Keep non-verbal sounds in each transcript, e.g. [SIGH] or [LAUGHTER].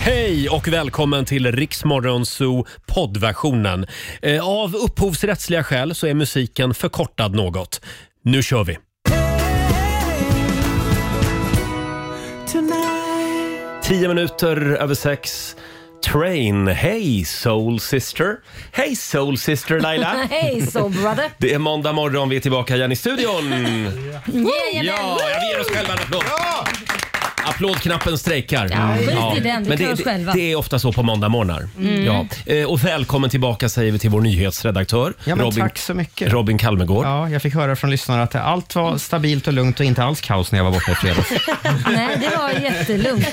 Hej och välkommen till Riksmorgon Zoo poddversionen. Eh, Av upphovsrättsliga skäl så är musiken förkortad något. Nu kör vi! Tio minuter över sex. Train. Hej Soul Sister. Hej Soul Sister Laila. [LAUGHS] Hej soul brother! Det är måndag morgon, vi är tillbaka igen i studion. Ja, Jajamän! ja, vi ger oss själva en applåd. Applådknappen strejkar. Ja, skit i den, vi Men klarar det, oss det, själva. Mm. det är ofta så på måndagmorgnar. Ja. Eh, Och välkommen tillbaka säger vi till vår nyhetsredaktör Ja, men Robin, tack så mycket. Robin Kalmegård. Ja, jag fick höra från lyssnarna att allt Mm. var stabilt och lugnt och inte alls kaos när jag var borta i fredags. [LAUGHS] Nej, det var jättelugnt.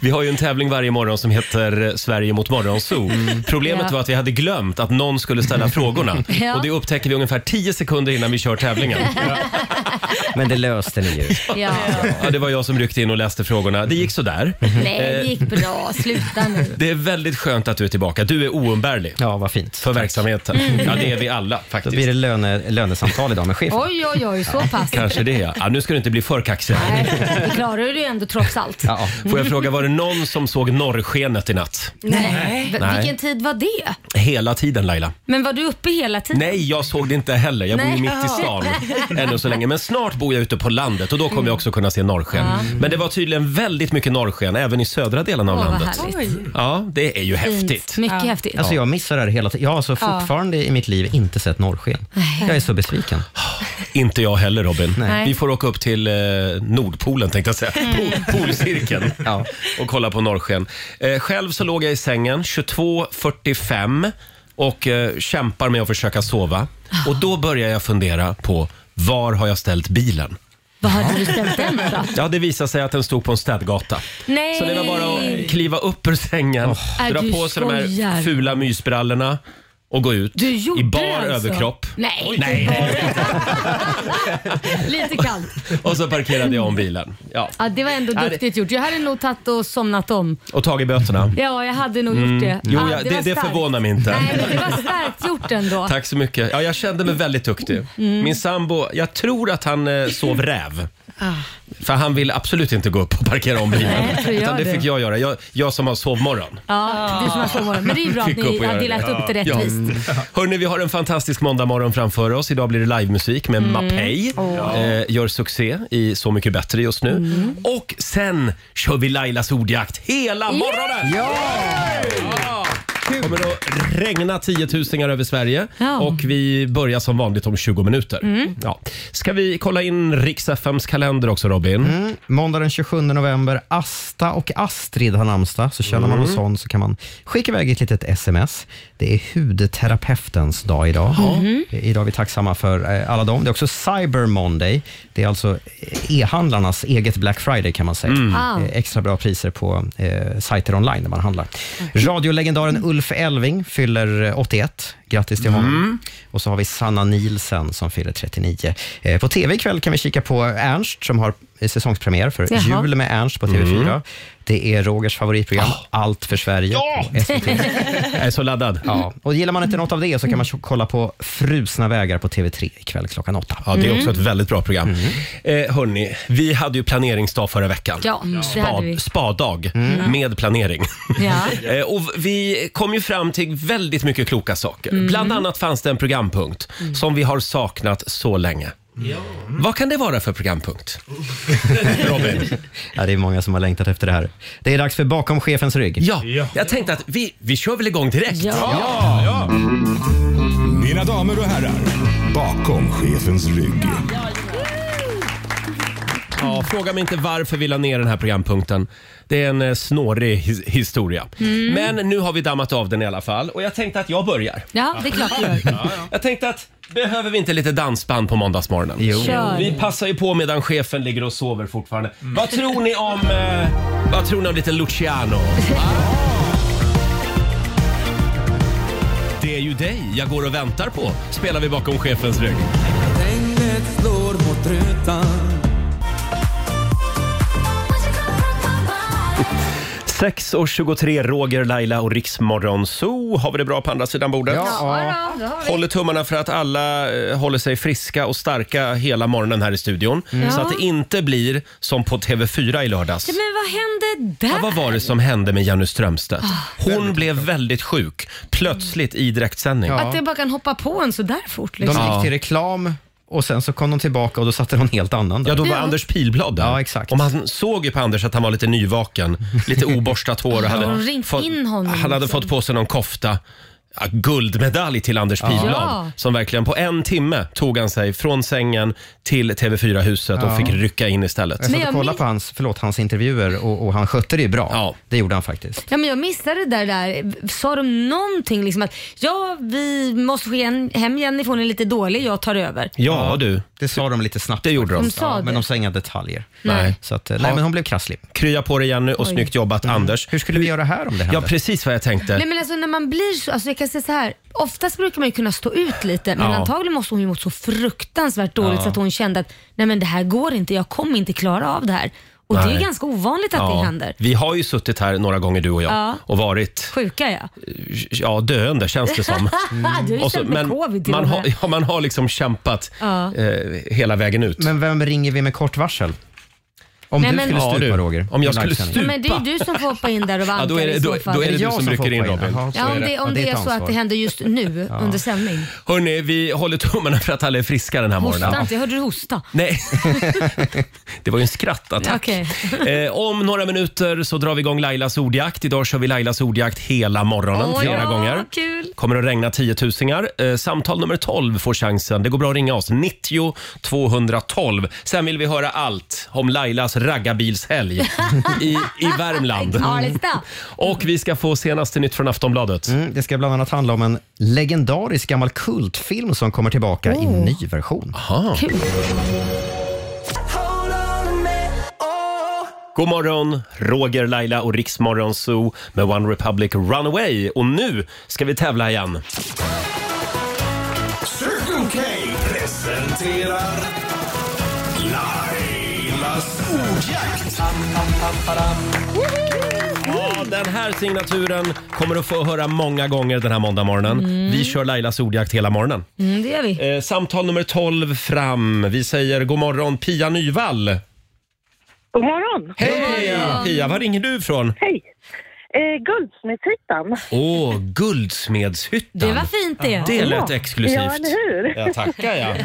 Vi har ju en tävling varje morgon som heter eh, Sverige mot morgonzoo. Mm. Problemet Ja. var att vi hade glömt att någon [LAUGHS] skulle ställa frågorna. Ja. Och det upptäcker vi ungefär 10 sekunder innan vi kör [LAUGHS] tävlingen. Men det löste ni ju. Ja. Ja, det var jag som ryckte in och läste frågorna. Det gick Eh, sådär. Nej, det gick bra. Sluta nu. Det är väldigt skönt att du är tillbaka. Du är oumbärlig. Ja, vad fint. Mm. För verksamheten. Ja, det är vi alla Då blir faktiskt. det löne, lönesamtal idag med chefen. Oj, oj, oj, så pass. Kanske det ja. ja. Nu ska du inte bli för kaxig. Nej, Det klarar du ju ändå trots allt. Ja, Får jag fråga, var det någon som såg norrskenet i natt? Nej. V- Nej. Vilken tid var det? Hela tiden Laila. Men var du uppe hela tiden? Nej, jag såg det inte heller. Jag bor ju Nej. mitt i stan [LAUGHS] ännu så länge. Men snart bor jag ute på landet och då Mm. kommer jag också kunna se norrsken. Men det var tydligen väldigt mycket norrsken även i södra delen av Åh, vad landet. härligt. Ja, det är ju häftigt. Fint. Mycket häftigt. Alltså jag missar det här hela tiden. Jag har alltså Ja. fortfarande i mitt liv inte sett norrsken. Jag är så besviken. Inte jag heller Robin. Nej. Mm. Vi får åka upp till eh, Nordpolen tänkte jag säga. Po- [LAUGHS] Polcirkeln. Ja. Och kolla på norrsken. Eh, själv så låg jag i sängen 22.45 och eh, kämpar med att försöka sova. Och då börjar jag fundera på var har jag ställt bilen? Vad hade du ställt den då? [LAUGHS] Ja, det visade sig att den stod på en städgata. Nej! Så det var bara att kliva upp ur sängen, Äh, dra du på sig de här skojar. fula mysbrallorna och gå ut Du gjorde i bar det alltså? överkropp. Nej, Nej. [LAUGHS] lite kallt. Och så parkerade jag om bilen. Ja. Ja, det var ändå Ja, det- duktigt gjort. Jag hade nog tagit och somnat om. Och tagit böterna. Ja, jag hade nog gjort det. Mm. Jo, ja, jag, det, var det starkt. förvånar mig inte. Nej, men det var starkt gjort ändå. Tack så mycket. Ja, jag kände mig väldigt Mm. duktig. Min sambo, jag tror att han eh, sov räv. För han vill absolut inte gå upp och parkera om bilen. Nej, jag tror jag Utan det det. fick jag göra. Jag, jag som har sovmorgon. Ja, du som har sovmorgon. Men det är ju bra att Fick upp och ni göra har det. delat upp det rättvist. Hörni, vi har en fantastisk måndagmorgon framför oss. Idag blir det livemusik Mm. med Mapei. Eh, gör succé i Så mycket bättre just nu. Mm. Och sen kör vi Lailas ordjakt hela morgonen! Det kommer att regna tiotusingar över Sverige Ja. Mm. och vi börjar som vanligt om 20 minuter. Ja. Ska vi kolla in riks FMs kalender också Robin? Mm. Måndag den 27 november, Asta och Astrid har namnsdag, så känner man någon sån så kan man skicka iväg ett litet sms. Det är hudterapeutens dag idag. Idag är vi tacksamma för eh, alla dem. Det är också Cyber Monday. Det är alltså e-handlarnas eget Black Friday kan man säga. Ah. Eh, Extra bra priser på eh, sajter online där man handlar. Radiolegendaren Ulf Elving fyller eh, 81. Grattis till honom. Och så har vi Sanna Nielsen som fyller 39. Eh, på tv ikväll kan vi kika på Ernst som har eh, säsongspremiär för Jaha. Jul med Ernst på TV4. Mm. Det är Rogers favoritprogram Allt för Sverige på SVT. [LAUGHS] Jag är så laddad. Ja. Och gillar man inte något av det så kan man kolla på Frusna vägar på TV3 ikväll klockan åtta. Mm. Ja, det är också ett väldigt bra program. Eh, hörni, vi hade ju planeringsdag förra veckan. Ja, det hade vi. Mm. spadag Mm. med planering. Ja. [LAUGHS] Eh, Och vi kom ju fram till väldigt mycket kloka saker. Mm. Bland annat fanns det en programpunkt som vi har saknat så länge. Vad kan det vara för programpunkt? [LAUGHS] Robin? Ja, det är många som har längtat efter det här. Det är dags för Bakom chefens rygg. Ja, jag tänkte att vi, vi kör väl igång direkt. Ja. Mina damer och herrar, bakom chefens rygg. Ja, fråga mig inte varför vi la ner den här programpunkten. Det är en eh, snårig his- historia. Mm. Men nu har vi dammat av den i alla fall och jag tänkte att jag börjar. ja, det är klart du gör. Jag tänkte att behöver vi inte lite dansband på måndagsmorgonen? Jo. Vi Kör. Mm. passar ju på medan chefen ligger och sover fortfarande. Vad tror ni om... Eh, vad tror ni om lite [LAUGHS] Luciano? Ah. Det är ju dig jag går och väntar på, spelar vi bakom chefens rygg. Regnet slår mot rutan 6.23, Roger, Laila och Riksmorgon Zoo. Har vi det bra på andra sidan bordet? Ja, då, då har vi. Håller tummarna för att alla eh, håller sig friska och starka hela morgonen här i studion. Mm. Så att det inte blir som på TV4 i lördags. Ja, Men vad hände där? Ah. Ja, vad var det som hände med Jenny Strömstedt? Hon blev väldigt sjuk plötsligt i direktsändning. Ja. Att det bara kan hoppa på en så där fort De liksom. Ja. gick till reklam och sen så kom de tillbaka och då satte någon helt annan där. Ja, då var Ja. Anders Pilblad där. Ja, exakt. Och man såg ju på Anders att han var lite nyvaken. Lite [LAUGHS] oborstat hår. Och hade de ringt fått- in honom Han hade liksom? fått på sig någon kofta. Ja, guldmedalj till Anders Pilblad Ja. som verkligen på en timme tog han sig från sängen till TV4-huset och fick rycka in istället. Jag satt Men jag och kollade minns- på hans, förlåt, hans intervjuer och, och han skötte det ju bra. Ja. Det gjorde han faktiskt. Ja, men jag missade det där, där. Sa de någonting liksom att ja, vi måste skicka en- hem Jenny för hon är lite dålig, jag tar över. Ja, du. Det sa de lite snabbt. Det gjorde de. De sa Ja, men det. de sa inga detaljer. Nej. Så att, eh, nej, men hon blev krasslig. Mm. Krya på dig Jenny och snyggt jobbat Anders. Hur skulle vi göra här om det Ja, hände? precis vad jag tänkte. Nej men alltså när man blir så, alltså jag kan säga så här. Oftast brukar man ju kunna stå ut lite men Ja. antagligen måste hon ju mått så fruktansvärt dåligt så att hon kände att nej men det här går inte, jag kommer inte klara av det här. Och det är Nej. ju ganska ovanligt att Ja. det händer. Vi har ju suttit här några gånger du och jag Ja. och varit Sjuka ja. ja, döende känns det som. [LAUGHS] Mm. Du är ju Och så- känt med covid till man, och med. har, ja, man har liksom kämpat Ja. eh, hela vägen ut. Men vem ringer vi med kort varsel? Om Nej, du men- skulle Ja, stupa, du. Roger. Om jag i skulle livesändning. stupa. Men det är ju du som får hoppa in där och vara [LAUGHS] Ja, då är det- ankare i så då- då fall. är det- jag som som rycker får in, hoppa Robin. Jaha, så Ja, om är det, om Ja, det, ett är så att ansvar. det händer just nu under sändning. Hörni, vi håller tummarna för att alla är friska den här Hosta morgonen. inte, jag hörde du hosta. Nej, det var ju en skrattattack. [LAUGHS] Okej. Eh, om några minuter så drar vi igång Lailas ordjakt. Idag kör vi Lailas ordjakt hela morgonen, Åh, flera ja, gånger. kul. kommer att regna tiotusingar. Eh, samtal nummer 12 får chansen. Det går bra att ringa oss. 90 212. Sen vill vi höra allt om Lailas raggarbilshelg i, i [LAUGHS] Värmland. Alista. Och vi ska få senaste nytt från Aftonbladet. Mm, det ska bland annat handla om en legendarisk gammal kultfilm som kommer tillbaka i ny version. Oh. Kul. God morgon, Roger, Laila och Riksmorgon Zoo med One Republic Runaway. Och nu ska vi tävla igen. Circle K presenterar Lailas ordjakt. Ja, den här signaturen kommer att få höra många gånger den här måndagmorgonen. Vi kör Lailas ordjakt hela morgonen. Mm, det gör vi. Eh, samtal nummer 12 fram. Vi säger god morgon Pia Nyvall. God morgon! Hej Pia, var ringer du ifrån? Hej! Eh, Guldsmedshyttan. Åh, Guldsmedshyttan. Det var fint det. Det lät Ja, exklusivt. eller hur? Ja, tackar jag.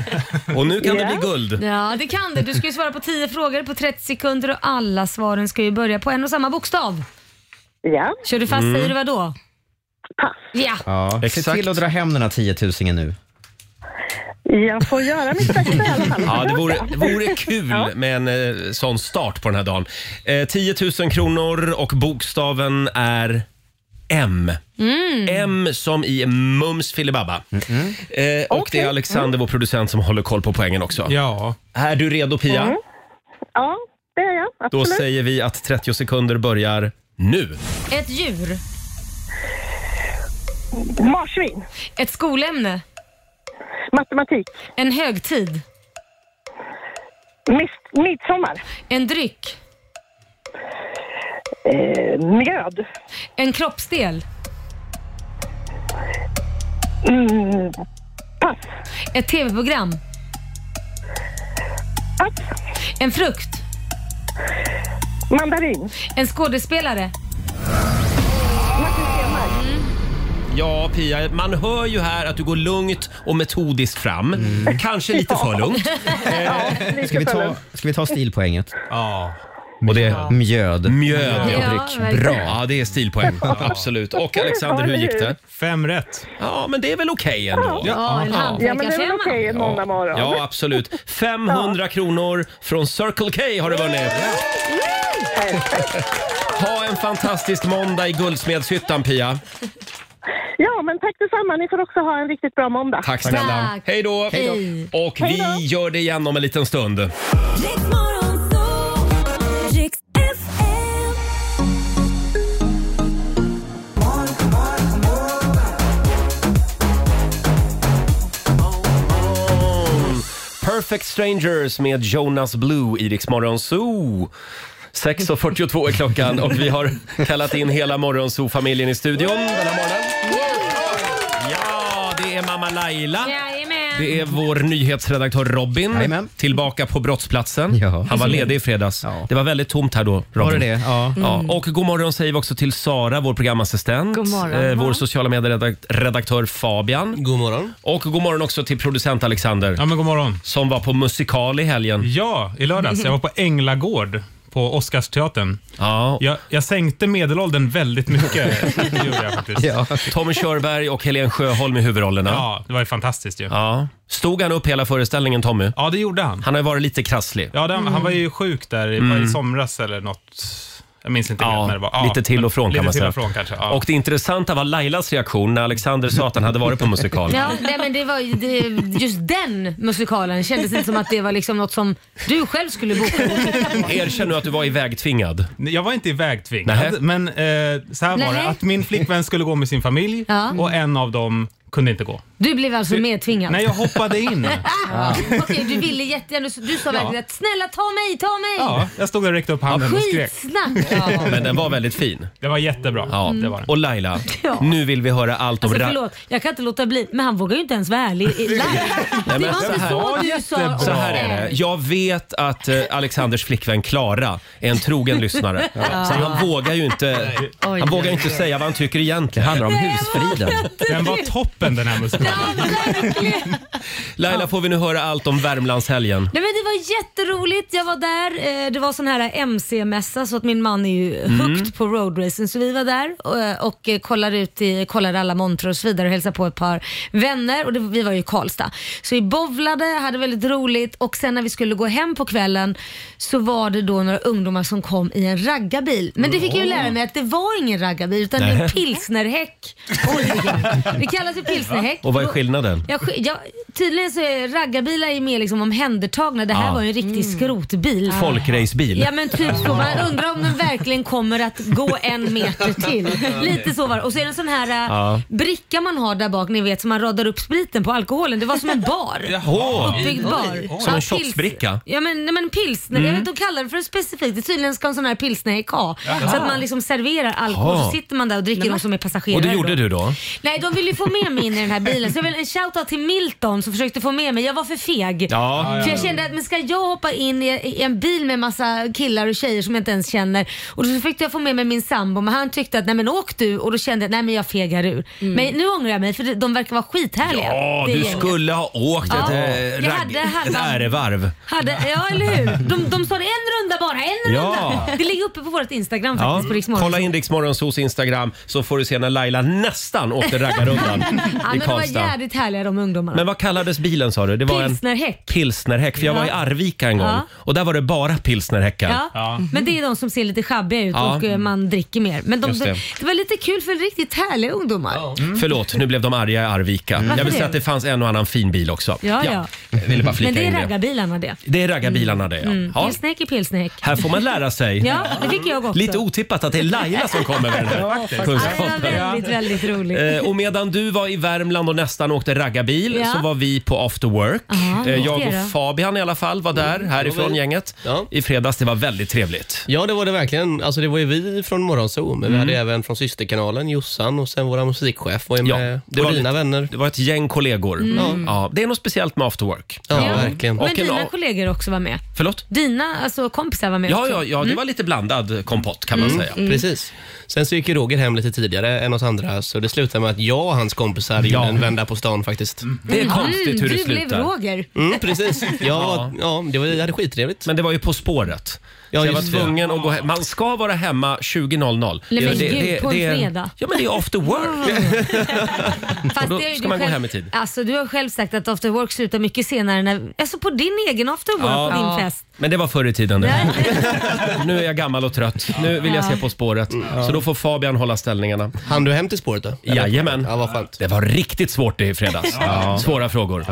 Och nu kan det bli guld. Ja, det kan det. Du ska ju svara på 10 frågor på 30 sekunder och alla svaren ska ju börja på en och samma bokstav. Ja, Kör du fast Mm. säger du vad då? pass. Ja. Ja, Se Exakt. till att dra hem den här tiotusingen nu. Jag får göra mitt bästa i alla fall. Ja, det vore, det vore kul med en eh, sån start på den här dagen. Eh, 10 000 kronor och bokstaven är M. M som i Mums filibabba. Eh, och det är Alexander, vår producent, som håller koll på poängen också. Ja. Är du redo Pia? Ja, det är jag. Då Absolut. säger vi att 30 sekunder börjar nu. Ett djur. Marsvin. Ett skolämne. Matematik. En högtid. Mis- midsommar. En dryck. Eh, mjöd. En kroppsdel. Mm, pass. Ett tv-program. Pass. En frukt. Mandarin. En skådespelare. Martin Stenmarck. Ja, Pia, man hör ju här att du går lugnt och metodiskt fram. Mm. Kanske lite [LAUGHS] för [LAUGHS] lugnt. Eh, Ska vi ta, ska vi ta stilpoänget? Ja. Och det är Mjöd. mjöd Ja, och dryck. verkligen. Bra. Ja, det är [LAUGHS] stilpoäng. Absolut. Och Alexander, hur gick det? Fem rätt. Ja, men det är väl okej ändå? Ja, en Ja, men det är väl hantverkarfemma. okej en måndag morgon. Ja, absolut. 500 kronor från Circle K har du vunnit. [LAUGHS] Ha en fantastisk måndag i Guldsmedshyttan, Pia. ja, men tack detsamma. Ni får också ha en riktigt bra måndag. Tack snälla. Tack. Hej då. Hej Och vi gör det igen om en liten stund. Perfect Strangers med Jonas Blue i Rix Morgon Zoo. 6.42 är klockan och vi har kallat in hela Morgonzoo-familjen i studion den här morgonen. Ja, det är mamma Laila. Jajamän. Det är vår nyhetsredaktör Robin, Jajamän. tillbaka på brottsplatsen. Ja. Han var ledig i fredags. Ja. Det var väldigt tomt här då, Robin. Var det det? Ja. Mm. Ja, och god morgon säger vi också till Sara, vår programassistent. Eh, God morgon. vår sociala medieredaktör Fabian. God morgon. Och god morgon också till producent Alexander Ja, men god morgon. som var på musikal i helgen. Ja, i lördags. Jag var på Änglagård på Oscarsteatern. Ja. Jag, jag sänkte medelåldern väldigt [LAUGHS] mycket. Det gjorde jag faktiskt. Ja. Tommy Körberg och Helen Sjöholm i huvudrollerna. Ja. Ja, det var ju fantastiskt ju. Stod han upp hela föreställningen, Tommy? Ja, det gjorde han. Han har ju varit lite krasslig. Ja, det, Mm. han var ju sjuk där i, Mm. var i somras eller något. Jag minns inte Ja, helt när det var. Ja, lite till och från lite kan man till säga. och från kanske. Ja. Och det intressanta var Lailas reaktion när Alexander sa att han hade varit på musikal. Ja, nej, men det var ju- det, just den musikalen kändes inte som att det var liksom något som du själv skulle boka. Erkänn nu att du var ivägtvingad. Jag var inte ivägtvingad, Nähä. men eh, så här var Nähä. det. Att min flickvän skulle gå med sin familj Ja. och en av dem kunde inte gå. Du blev alltså medtvingad. Nej, jag [LAUGHS] hoppade in. Ah, Okej, du ville jättegärna. Du, du sa verkligen att snälla ta mig, ta mig. Alltså, Ja, jag stod där och räckte upp handen och skrek. Skitsnack. Ja. Men den var väldigt fin. Det var jättebra. Mm. Ja. Det var det. Och Laila, Ja. nu vill vi höra allt om... Alltså, ra- förlåt, jag kan inte låta bli. Men han vågar ju inte ens vara ärlig i- live. Det var så inte här- så du sa. Så här är det. Jag vet att eh, Alexanders flickvän Klara är en trogen [LAUGHS] lyssnare. Så han vågar ju inte, han vågar ju inte säga vad han tycker egentligen. handlar om husfriden. Den var toppen den här musikalen. Ja, verkligen. Laila, får vi nu höra allt om Värmlandshelgen? Nej, men det var jätteroligt. Jag var där. Eh, Det var sån här MC-mässa så att min man är ju Mm. hooked på roadracing. Så vi var där och, och eh, kollade, ut i, kollade alla montrar och så vidare och hälsade på ett par vänner. Och det, vi var ju i Karlstad. Så vi bowlade, hade väldigt roligt och sen när vi skulle gå hem på kvällen så var det då några ungdomar som kom i en raggarbil. Men det fick jag ju lära mig att det var ingen raggarbil utan det är [LAUGHS] en pilsnerhäck. Det kallas ju pilsnerhäck. Och vad är skillnaden? Jag, sk- jag, tydligen så är raggarbilar är mer liksom omhändertagna. Det här Ja. Mm. var ju en riktig skrotbil. Folkracebil. Ja men typ så. Man undrar om den verkligen kommer att gå en meter till. Lite så var det. Och så är det en sån här äh, Ja. bricka man har där bak, ni vet, som man radar upp spriten på alkoholen. Det var som en bar. Åh, Uppbyggd bar. Som en Ja, shotsbricka? Mm. pils- Ja men, nej, men pilsner, jag vet de kallar det för det specifikt. Tydligen ska en sån här pilsner ha. Så att man liksom serverar alkohol Jaha. så sitter man där och dricker de som är passagerare. och det då. gjorde du då? Nej, de ville ju få med mig in i den här bilen. Så jag vill en shoutout till Milton som försökte få med mig. Jag var för feg. Ja. För jag kände att men ska jag hoppa in i, i en bil med massa killar och tjejer som jag inte ens känner. Och då försökte jag få med mig min sambo men han tyckte att nej men åk du och då kände jag nej men jag fegar ur. Men nu ångrar jag mig för de verkar vara skithärliga. Ja, det du gänget. skulle ha åkt Ja. ett Jag eh, ragg- hade halva- ärevarv. Hade, ja eller hur? De, de sa det en runda bara, en Ja. runda. Det ligger uppe på vårt Instagram Ja. faktiskt på Rix Morgon. Kolla in Rix Morgonzoos Instagram så får du se när Laila nästan åkte raggarundan [LAUGHS] ja, i men de var Karlstad. jävligt härliga de ungdomarna. Men vad kallades bilen sa du? Det var en Pilsnerhäck. pilsnerhäck. För jag Ja. var i Arvika en gång Ja. och där var det bara pilsnerhäckar. Ja. Mm-hmm. Men det är de som ser lite schabbiga ut Ja. och eh, man dricker mer. Men de, Just det. det. var lite kul för riktigt härliga ungdomar. Mm. Förlåt, nu blev de arga i Arvika. Jag vill Mm. Varför säga det? att det fanns en och annan fin bil också. Ja, ja. Jag ville bara flika Men det är in det. raggarbilarna det. Det är raggarbilarna det ja. ja. Pilsnäck är pilsnäck. Här får man lära sig. Ja, det fick jag också. Lite otippat att det är Laila som kommer med den här [LAUGHS] ja, det var kunskapen. väldigt, väldigt roligt. Eh, och medan du var i Värmland och nästan åkte raggarbil Ja. så var vi på after work. Aha, Eh, vad jag var det och då? Fabian i alla fall var där härifrån vi. gänget Mm. Ja. i fredags. Det var väldigt trevligt. Ja, det var det verkligen. Alltså, det var ju vi från Morgonzoo, Mm. men vi hade även från systerkanalen Jossan och sen våra musikchef var ju Ja, med. det och var dina lite- vänner. Det var ett gäng kollegor. Ja, det är något speciellt med after work. Ja, Mm. Ja. verkligen. Men Och en dina a- kollegor också var med. Förlåt? Dina alltså, kompisar var med Ja, också. Mm. ja, ja det var lite blandad kompott kan man säga. Precis. Sen så gick ju Roger hem lite tidigare än oss andra, så det slutade med att jag och hans kompisar Ja. gjorde en vända på stan faktiskt. Det är Mm, konstigt hur du det blev slutar. Roger. Mm, [LAUGHS] precis. Jag ja. ja, det var, jag hade skittrevligt. Men det var ju På spåret. Ja, så jag var just det. tvungen att gå hem. Man ska vara hemma 20.00. Nej, men det, gud, på en är- fredag. Ja, men det är after [LAUGHS] work. Fast då det är ju ska du man gå själv- hem i tid. Alltså, du har själv sagt att after work slutar mycket senare. När, alltså på din egen after work Ja. på din Ja. fest. Men det var förr i tiden. Det. Nej. Nu är jag gammal och trött. Nu vill jag se På spåret. Så då får Fabian hålla ställningarna. Mm. Han du hem till spåret då? Eller? Jajamän. Ja, vad skönt. Det var riktigt svårt det i fredags. Mm. Svåra frågor.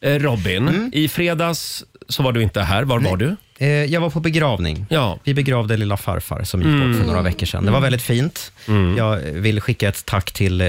Eh, Robin, i fredags så var du inte här. Var var du? Eh, jag var på begravning. Ja. Mm. Vi begravde lilla farfar som gick bort för några veckor sedan. Det var väldigt fint. Jag vill skicka ett tack till eh,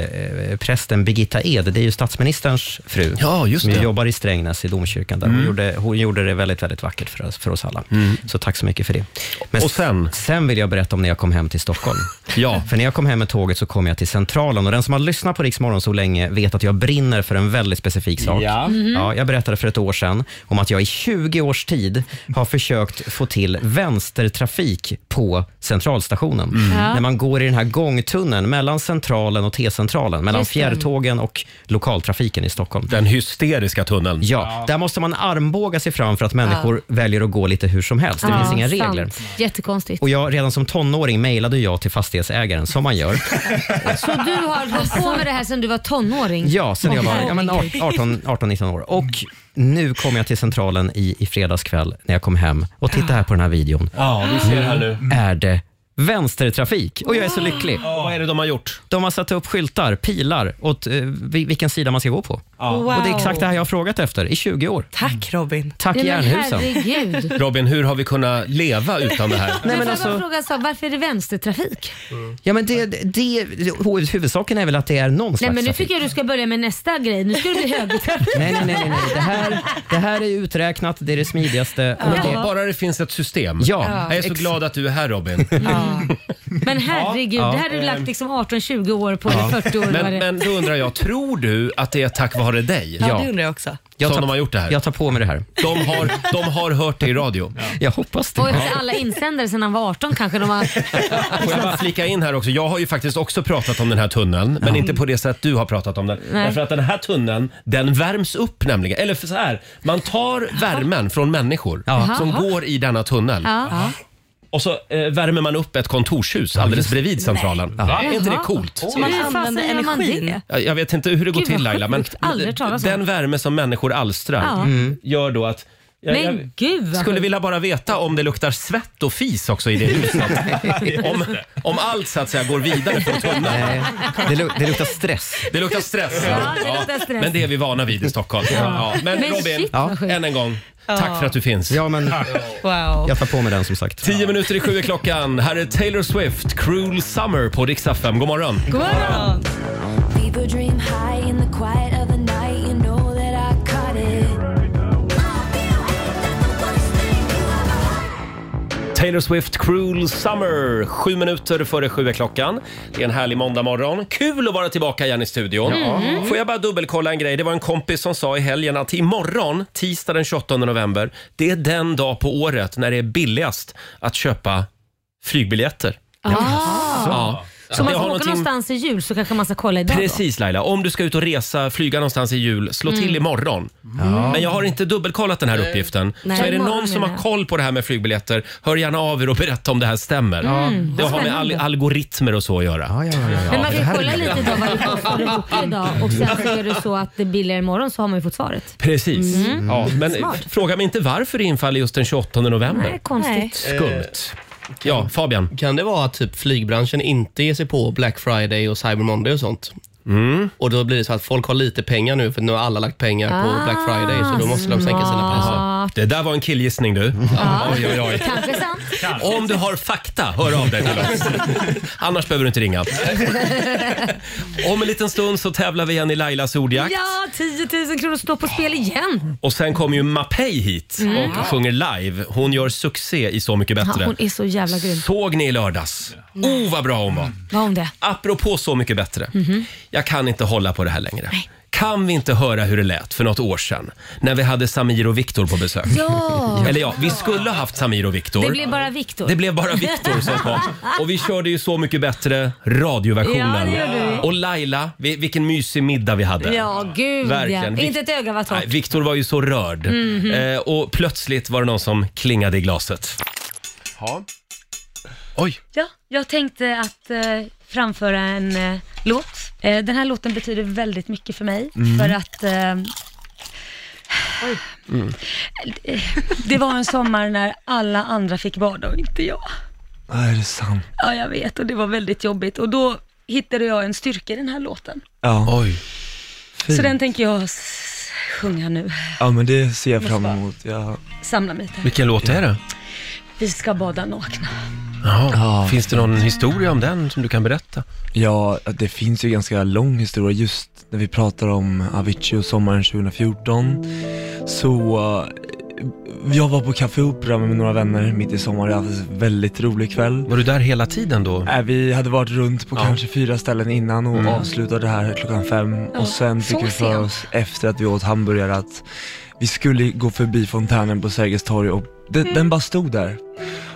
prästen Birgitta Ed. Det är ju statsministerns fru. Ja, just som ju det. Mm. jobbar i Strängnäs i domkyrkan. Där. Hon, gjorde, hon gjorde det väldigt, väldigt vackert för oss, för oss alla. Så tack så mycket för det. Men Och sen? Sen vill jag berätta om när jag kom hem till Stockholm. [LAUGHS] Ja. För när jag kom hem med tåget så kom jag till Centralen och den som har lyssnat på Rix Morgon så länge vet att jag brinner för en väldigt specifik sak. Ja. Ja, jag berättade för ett år sedan om att jag i 20 års tid har försökt få till vänstertrafik på Centralstationen. Ja. Mm. När man går i den här gångtunneln mellan Centralen och T-centralen, mellan Just det. fjärrtågen och lokaltrafiken i Stockholm. Den hysteriska tunneln. Ja, där måste man armbåga sig fram för att människor väljer att gå lite hur som helst. Det finns inga regler. Sant. Jättekonstigt. Och jag, redan som tonåring mejlade jag till fastighetsägaren, som man gör. Så du har hållit på med det här sedan du var tonåring? Ja, sen jag var ja, men Herregud. 18-19 år. Och nu kom jag till Centralen i, i fredags kväll när jag kom hem. Och titta här på den här videon. Mm. Ja, vi ser här nu. Är det vänstertrafik? Och jag är så lycklig. Vad är det de har gjort? De har satt upp skyltar, pilar, åt eh, vi- vilken sida man ska gå på. Wow. Och det är exakt det här jag har frågat efter i 20 år. Tack Robin. Tack Nej, men Jernhusen. [LAUGHS] herregud. Robin, hur har vi kunnat leva utan det här? [LAUGHS] Nej, men Men får jag alltså- bara fråga en sak, varför är det vänstertrafik? Ja, men det, det, huvudsaken är väl att det är någon slags Nej men nu trafik. tycker jag du ska börja med nästa grej. Nu ska det bli högertrafik. Nej, nej, nej. nej, nej. Det, här, det här är uträknat, det är det smidigaste. Och Ja. det, Bara det finns ett system. Ja. Jag är så Ex- glad att du är här Robin. Men herregud, det här har du lagt liksom 18-20 år på, eller 40 år var Men, det. men då undrar jag, tror du att det är tack vare dig Ja, Ja. det undrar jag också. jag, som tar, de har gjort det här? jag tar på mig det här. De, har, de har hört det i radio. Jag hoppas det. Och efter alla insändare sedan han var 18 kanske de var... Får jag bara flika in här också? Jag har ju faktiskt också pratat om den här tunneln, men inte på det sätt du har pratat om den. Nej. Därför att den här tunneln, den värms upp nämligen. Eller för så här, man tar värmen från människor Ja. som går i denna tunnel. Ja. Och så eh, värmer man upp ett kontorshus alldeles bredvid centralen. Va? Är inte det coolt? Man Hur fasen använder gör man energin. det? Jag jag vet inte hur det går Gud, till vad Laila, men sjukt. Aldrig hört talas om. den värme som människor alstrar Ja. gör då att... Jag, Men gud jag vad skulle sjukt. vilja bara veta om det luktar svett och fis också i det huset. [LAUGHS] [LAUGHS] om, om allt så att säga går [LAUGHS] vidare från tunneln. Nej, det, lu- det luktar stress. Det luktar stress. Ja, det luktar stress. Men det är vi vana vid i Stockholm. Ja. Men, Men Robin, shit, vad sjukt. än en gång, tack för att du finns. Ja, men Wow. jag tar på mig den som sagt. Tio minuter i sju är klockan. Här är Taylor Swift, Cruel Summer på Rix FM. God morgon! God morgon. Fever dream high in the quiet of the night. You know that I caught it. Taylor Swift, Cruel Summer. Sju minuter före sju är klockan. Det är en härlig måndagmorgon. Kul att vara tillbaka igen i studion. Får jag bara dubbelkolla en grej? Det var en kompis som sa i helgen att imorgon, tisdag den 28 november, det är den dag på året när det är billigast att köpa flygbiljetter. Ah. Ja. Så om man Det ska har åka någonting- någonstans i jul så kanske man ska kolla idag då? Precis Laila, om du ska ut och resa, flyga någonstans i jul, slå Mm. till imorgon. Men jag har inte dubbelkollat den här uppgiften. Nej, så är det imorgon någon som menar har jag. koll på det här med flygbiljetter, hör gärna av er och berätta om det här stämmer. Det har med al- algoritmer och så att göra. Mm. Ja, ja, ja, ja. Men man Det kan här kolla är- lite idag vad det kostar att boka idag och sen så är det så att det är billigare imorgon så har man ju fått svaret. Alltså- Precis. Mm. Ja, men Mm. Smart. fråga mig inte varför det infaller just den 28 november. Nej, konstigt. Skumt. Ja, Fabian. Eh, Kan det vara att typ flygbranschen inte ger sig på Black Friday och Cyber Monday och sånt? Mm. Och då blir det så att folk har lite pengar nu för nu har alla lagt pengar på Ah, Black Friday så då måste de sänka sina priser. Det där var en killgissning du. Oj, oj, oj. Kanske [LAUGHS] sant. Om du har fakta, hör av dig till [LAUGHS] oss. Annars behöver du inte ringa. Om en liten stund så tävlar vi igen i Lailas ordjakt. Ja, 10 000 kronor står på spel igen. Och sen kommer ju Mapei hit och sjunger live. Hon gör succé i Så mycket Mm. Ja, bättre. hon är så jävla grym. Såg ni i lördags? Oh, vad bra hon var. Vad om det? Mhm. Apropå Så mycket bättre. Mm. Jag kan inte hålla på det här längre. Kan vi inte höra hur det lät för något år sedan när vi hade Samir och Viktor på besök? Ja, [LAUGHS] Eller ja, vi skulle ha haft Samir och Viktor. det blir bara Viktor. Det blev bara Viktor som kom. Och vi körde ju Så mycket bättre Ja, radioversionen. det gjorde vi. och Laila, vi, vilken mysig middag vi hade. [LAUGHS] Ja, gud Verkligen. ja. Inte ett öga Mhm. var Nej, torrt. Viktor var ju så rörd. eh, och plötsligt var det någon som klingade i glaset. Ja. Oj, Ja, jag tänkte att eh, framföra en eh, låt. Eh, den här låten betyder väldigt mycket för mig Mm. för att eh, Mm. eh, [SIGHS] det var en sommar när alla andra fick bada och inte jag. Är det sant? Ja, jag vet och det var väldigt jobbigt och då hittade jag en styrka i den här låten. Ja. oj. Så den tänker jag s- sjunga nu. ja, men det ser jag fram emot. Ja. Samla mig till. Vilken låt är det? Vi ska bada nakna. Ja. Finns det någon historia om den som du kan berätta? Ja, det finns ju ganska lång historia just när vi pratar om Avicii och sommaren 2014. Så eh, jag var på Café Opera med några vänner mitt i sommaren. Jag hade en väldigt rolig kväll. Var du där hela tiden då? Nej, vi hade varit runt på Ja. kanske fyra ställen innan och Mm. avslutade här klockan fem. Ja, Och sen så fick vi för sent. oss efter att vi åt hamburgare att vi skulle gå förbi fontänen på Sergels torg och den, Mm. den bara stod där.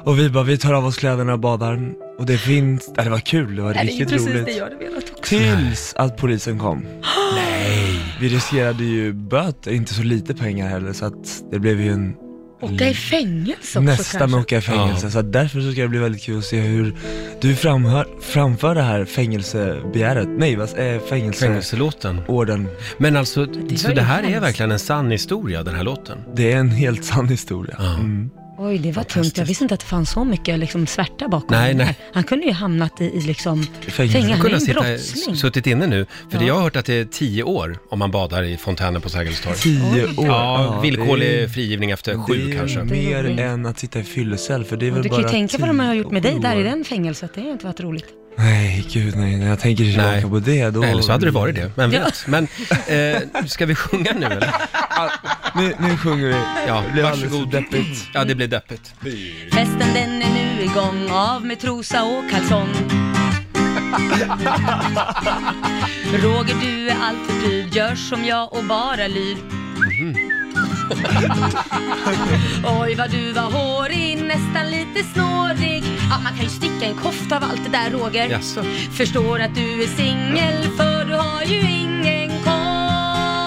Och vi bara, vi tar av oss kläderna och badar. Och det finns, ja, det var kul, det var Nej, det är ju riktigt precis roligt. det jag hade velat också. Tills att polisen kom. [GASPS] Nej! Vi riskerade ju böter, inte så lite pengar heller så att det blev ju en Åka i fängelse också Nästa kanske. med att åka i fängelse, så att därför så ska det bli väldigt kul att se hur du framhör, framför det här fängelsebegäret, nej vad, eh, fängelse... Fängelselåten. Orden. Men alltså, så var det ju här är hemskt. verkligen en sann historia, den här låten? Det är en helt sann historia. Mm. Oj, det var tungt. Jag visste inte att det fanns så mycket liksom, svärta bakom Nej, det här. nej. Han kunde ju hamnat i, i liksom, Fängelse. fängelse. Han är kunde ha ju en sitta, brottsling. s- suttit inne nu. För Ja. det jag har hört att det är tio år om man badar i fontänen på Sergels torg. Tio år? Ja, Ja, det är- villkorlig frigivning efter sju det är kanske. mer än att sitta i fyllecell, för det är Och väl du kan bara ju tänka vad de har gjort med dig tio där i år. den fängelset. Det har ju inte varit roligt. Nej, gud nej, när jag tänker tillbaka Nej. på det då... Eller så hade det varit det, men vet. Men eh, ska vi sjunga nu eller? Nu, nu sjunger vi. Ja, Det blev alldeles varsågod. för deppigt. Ja, det blir deppigt. Festen den är nu igång, av med trosa och kalsong. Roger du är allt för pryd, gör som jag och bara lyd. Oj vad du var hårig, nästan lite snårig. Ja, man kan ju sticka en kofta av allt det där Roger. Jaså? Förstår att du är singel för du har ju ingen koll.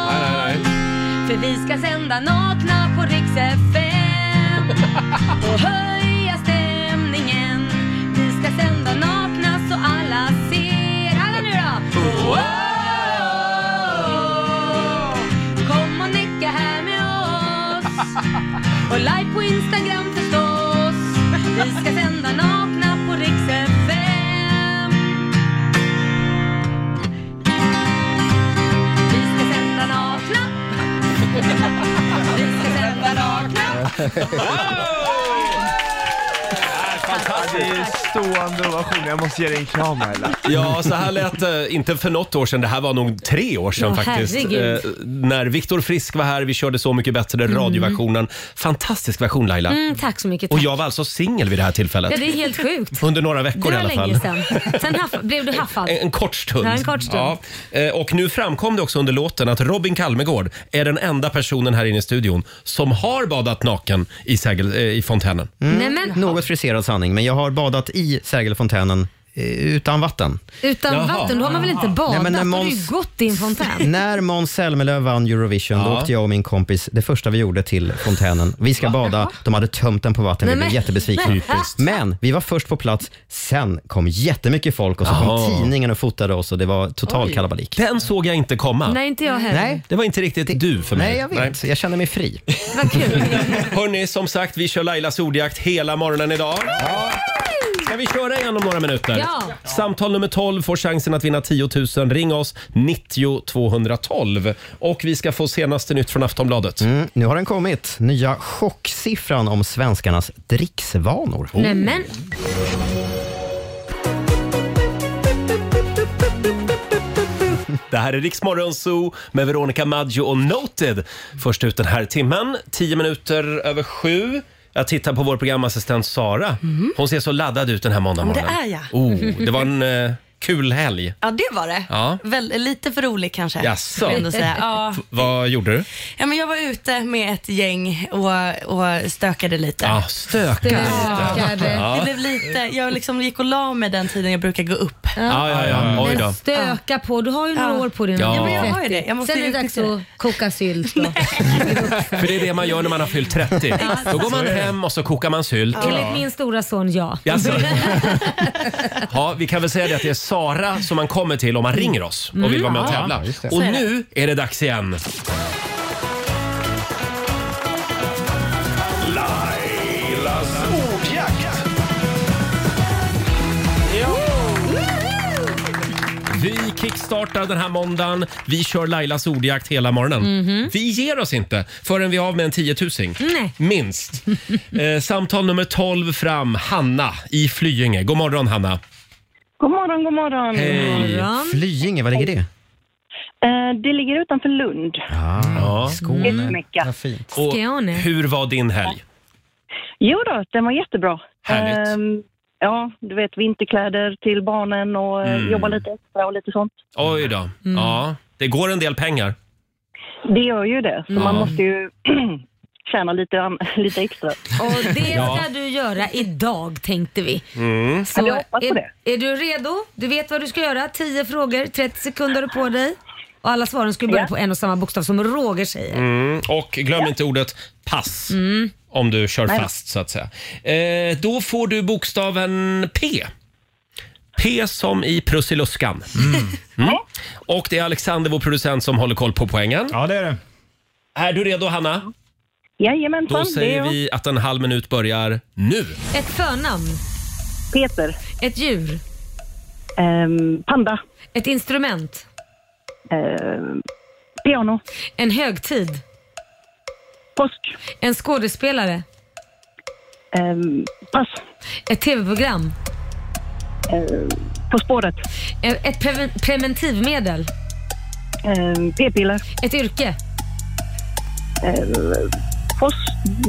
Nej, nej, nej. För vi ska sända nakna på Rix FM och höja stämningen. Vi ska sända nakna så alla ser. Alla nu då! Wow! Kom och nicka här med oss och live på Instagram förstås. Vi ska sända nakna på Rix FM. Vi ska sända nakna. Vi ska sända nakna. Det är stående ovation, jag måste ge dig en kram Laila. Ja, så här lät det inte för något år sedan. Det här var nog tre år sedan Ja, faktiskt. Eh, herregud. när Viktor Frisk var här, vi körde Så mycket bättre, radioversionen. Fantastisk version Laila. Mm, tack så mycket. Och Tack. jag var alltså singel vid det här tillfället. Ja, det är helt [LAUGHS] sjukt. Under några veckor Det i var alla fall. länge sedan. Sen haff- blev du [LAUGHS] haffad. En, en kort stund. Ja, en kort stund. Eh, Och nu framkom det också under låten att Robin Kalmegård är den enda personen här inne i studion som har badat naken i, segel, eh, i fontänen. Mm. Nej, men, Något friserad sanning, men jag har badat i Sergelfontänen eh, utan vatten. utan Jaha. vatten, då har man väl inte badat? Nej, men när Då har du ju Måns- gått i en fontän. När Måns Zelmerlöw vann Eurovision, då Ja. åkte jag och min kompis, det första vi gjorde till fontänen. Vi ska bada, de hade tömt den på vatten, vi Nej, blev men- jättebesvikna. Typiskt. Men vi var först på plats, sen kom jättemycket folk och så Jaha. kom tidningen och fotade oss och det var total kalabalik. Den såg jag inte komma. Nej, inte jag heller. Nej, Det var inte riktigt du för mig. nej, jag vet. Jag känner mig fri. [LAUGHS] Vad kul. Hörni, som sagt, vi kör Lailas ordjakt hela morgonen idag. Ska vi köra igen om några minuter? Ja. Samtal nummer 12 får chansen att vinna 10 000. Ring oss, 90 212. Och vi ska få senaste nytt från Aftonbladet. Mm, nu har den kommit, nya chocksiffran om svenskarnas dricksvanor. Nej, men, Det här är Riksmorgon Zoo med Veronica Maggio och Noted. Först ut den här timmen, 10 minuter över sju. Jag tittar på vår programassistent Sara. Hon ser så laddad ut den här måndag morgonen. det är jag. Oh, det var en eh, kul helg. Ja, det var det. Ja. Väl, lite för rolig kanske. Jaså? skulle jag ändå säga. Ja. V- vad gjorde du? Ja, men jag var ute med ett gäng och, och stökade lite. Ah, stökar lite. Stökade. Ja. Det blev lite, jag liksom gick och la mig den tiden jag brukar gå upp. Ja, ja, ja. Oj då. men stöka på. Du har ju några Ja. år på dig nu. Ja, men jag har ju det. Jag måste Sen är det dags utnyttja att koka sylt. då. För det är det man gör när man har fyllt 30. Då går man hem och så kokar man sylt. Enligt min stora son, ja. Jaså? Ja, vi kan väl säga det att det är Sara som man kommer till om man ringer oss och vill vara med och Mm. tävla. Ja, just det. Och är det. nu är det dags igen. Lailas ordjakt. Vi kickstartar den här måndagen. Vi kör Lailas ordjakt hela morgonen. Vi ger oss inte förrän vi är av med en tiotusing. Mhm. Nej. [LAUGHS] Minst. Eh, samtal nummer 12 fram. Hanna i Flyinge. God morgon Hanna. God morgon, god morgon. Hej. Flyinge, var ligger det? Eh, det ligger utanför Lund. Ja. Skåne. Vad fint. Och Skåne. hur var din helg? Jo då, den var jättebra. Härligt. Ehm, ja, du vet vinterkläder till barnen och eh, Mm. jobba lite extra och lite sånt. Oj då. Mm. Ja, det går en del pengar. Det gör ju det, så Ja. man måste ju [CLEARS THROAT] tjäna lite, an- [LAUGHS] lite extra. Och det Ja. ska du göra idag tänkte vi. Mm. Så är, är du redo? Du vet vad du ska göra. 10 frågor, 30 sekunder på dig. Och alla svaren ska börja på en och samma bokstav som Roger säger. Mm. Och glöm inte ordet pass Mm. om du kör Nej. fast så att säga. Eh, då får du bokstaven P. P som i Prussiluskan. Mm. Och det är Alexander, vår producent, som håller koll på poängen. Ja, det är det. Är du redo, Hanna? Då Jajamensan, det är säger jag. vi att en halv minut börjar nu. Ett förnamn. Peter. Ehm, Ett djur. panda. Ehm, Ett instrument. piano. En högtid. Påsk. En skådespelare. Ehm, pass. Ehm, Ett tv-program. På spåret. E- Ett preven- preventivmedel. Ehm, P-piller. Ett yrke. Ehm, Post?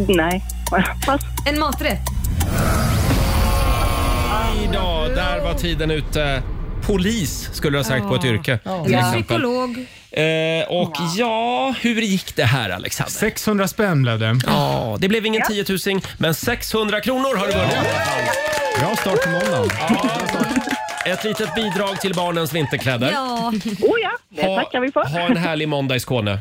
Nej. [LAUGHS] Pass. En maträtt. Idag, där var tiden ute. Polis skulle du ha sagt på ett yrke. till Eller exempel. psykolog. Eh, och ja. hur gick det här Alexander? 600 spänn blev det. Ja, det blev ingen 10 000 men 600 kronor har du vunnit. Bra start på måndagen. Ett litet bidrag till barnens vinterkläder. Ja. Oh ja, det Ha- tackar vi för. Ha en härlig måndag i Skåne.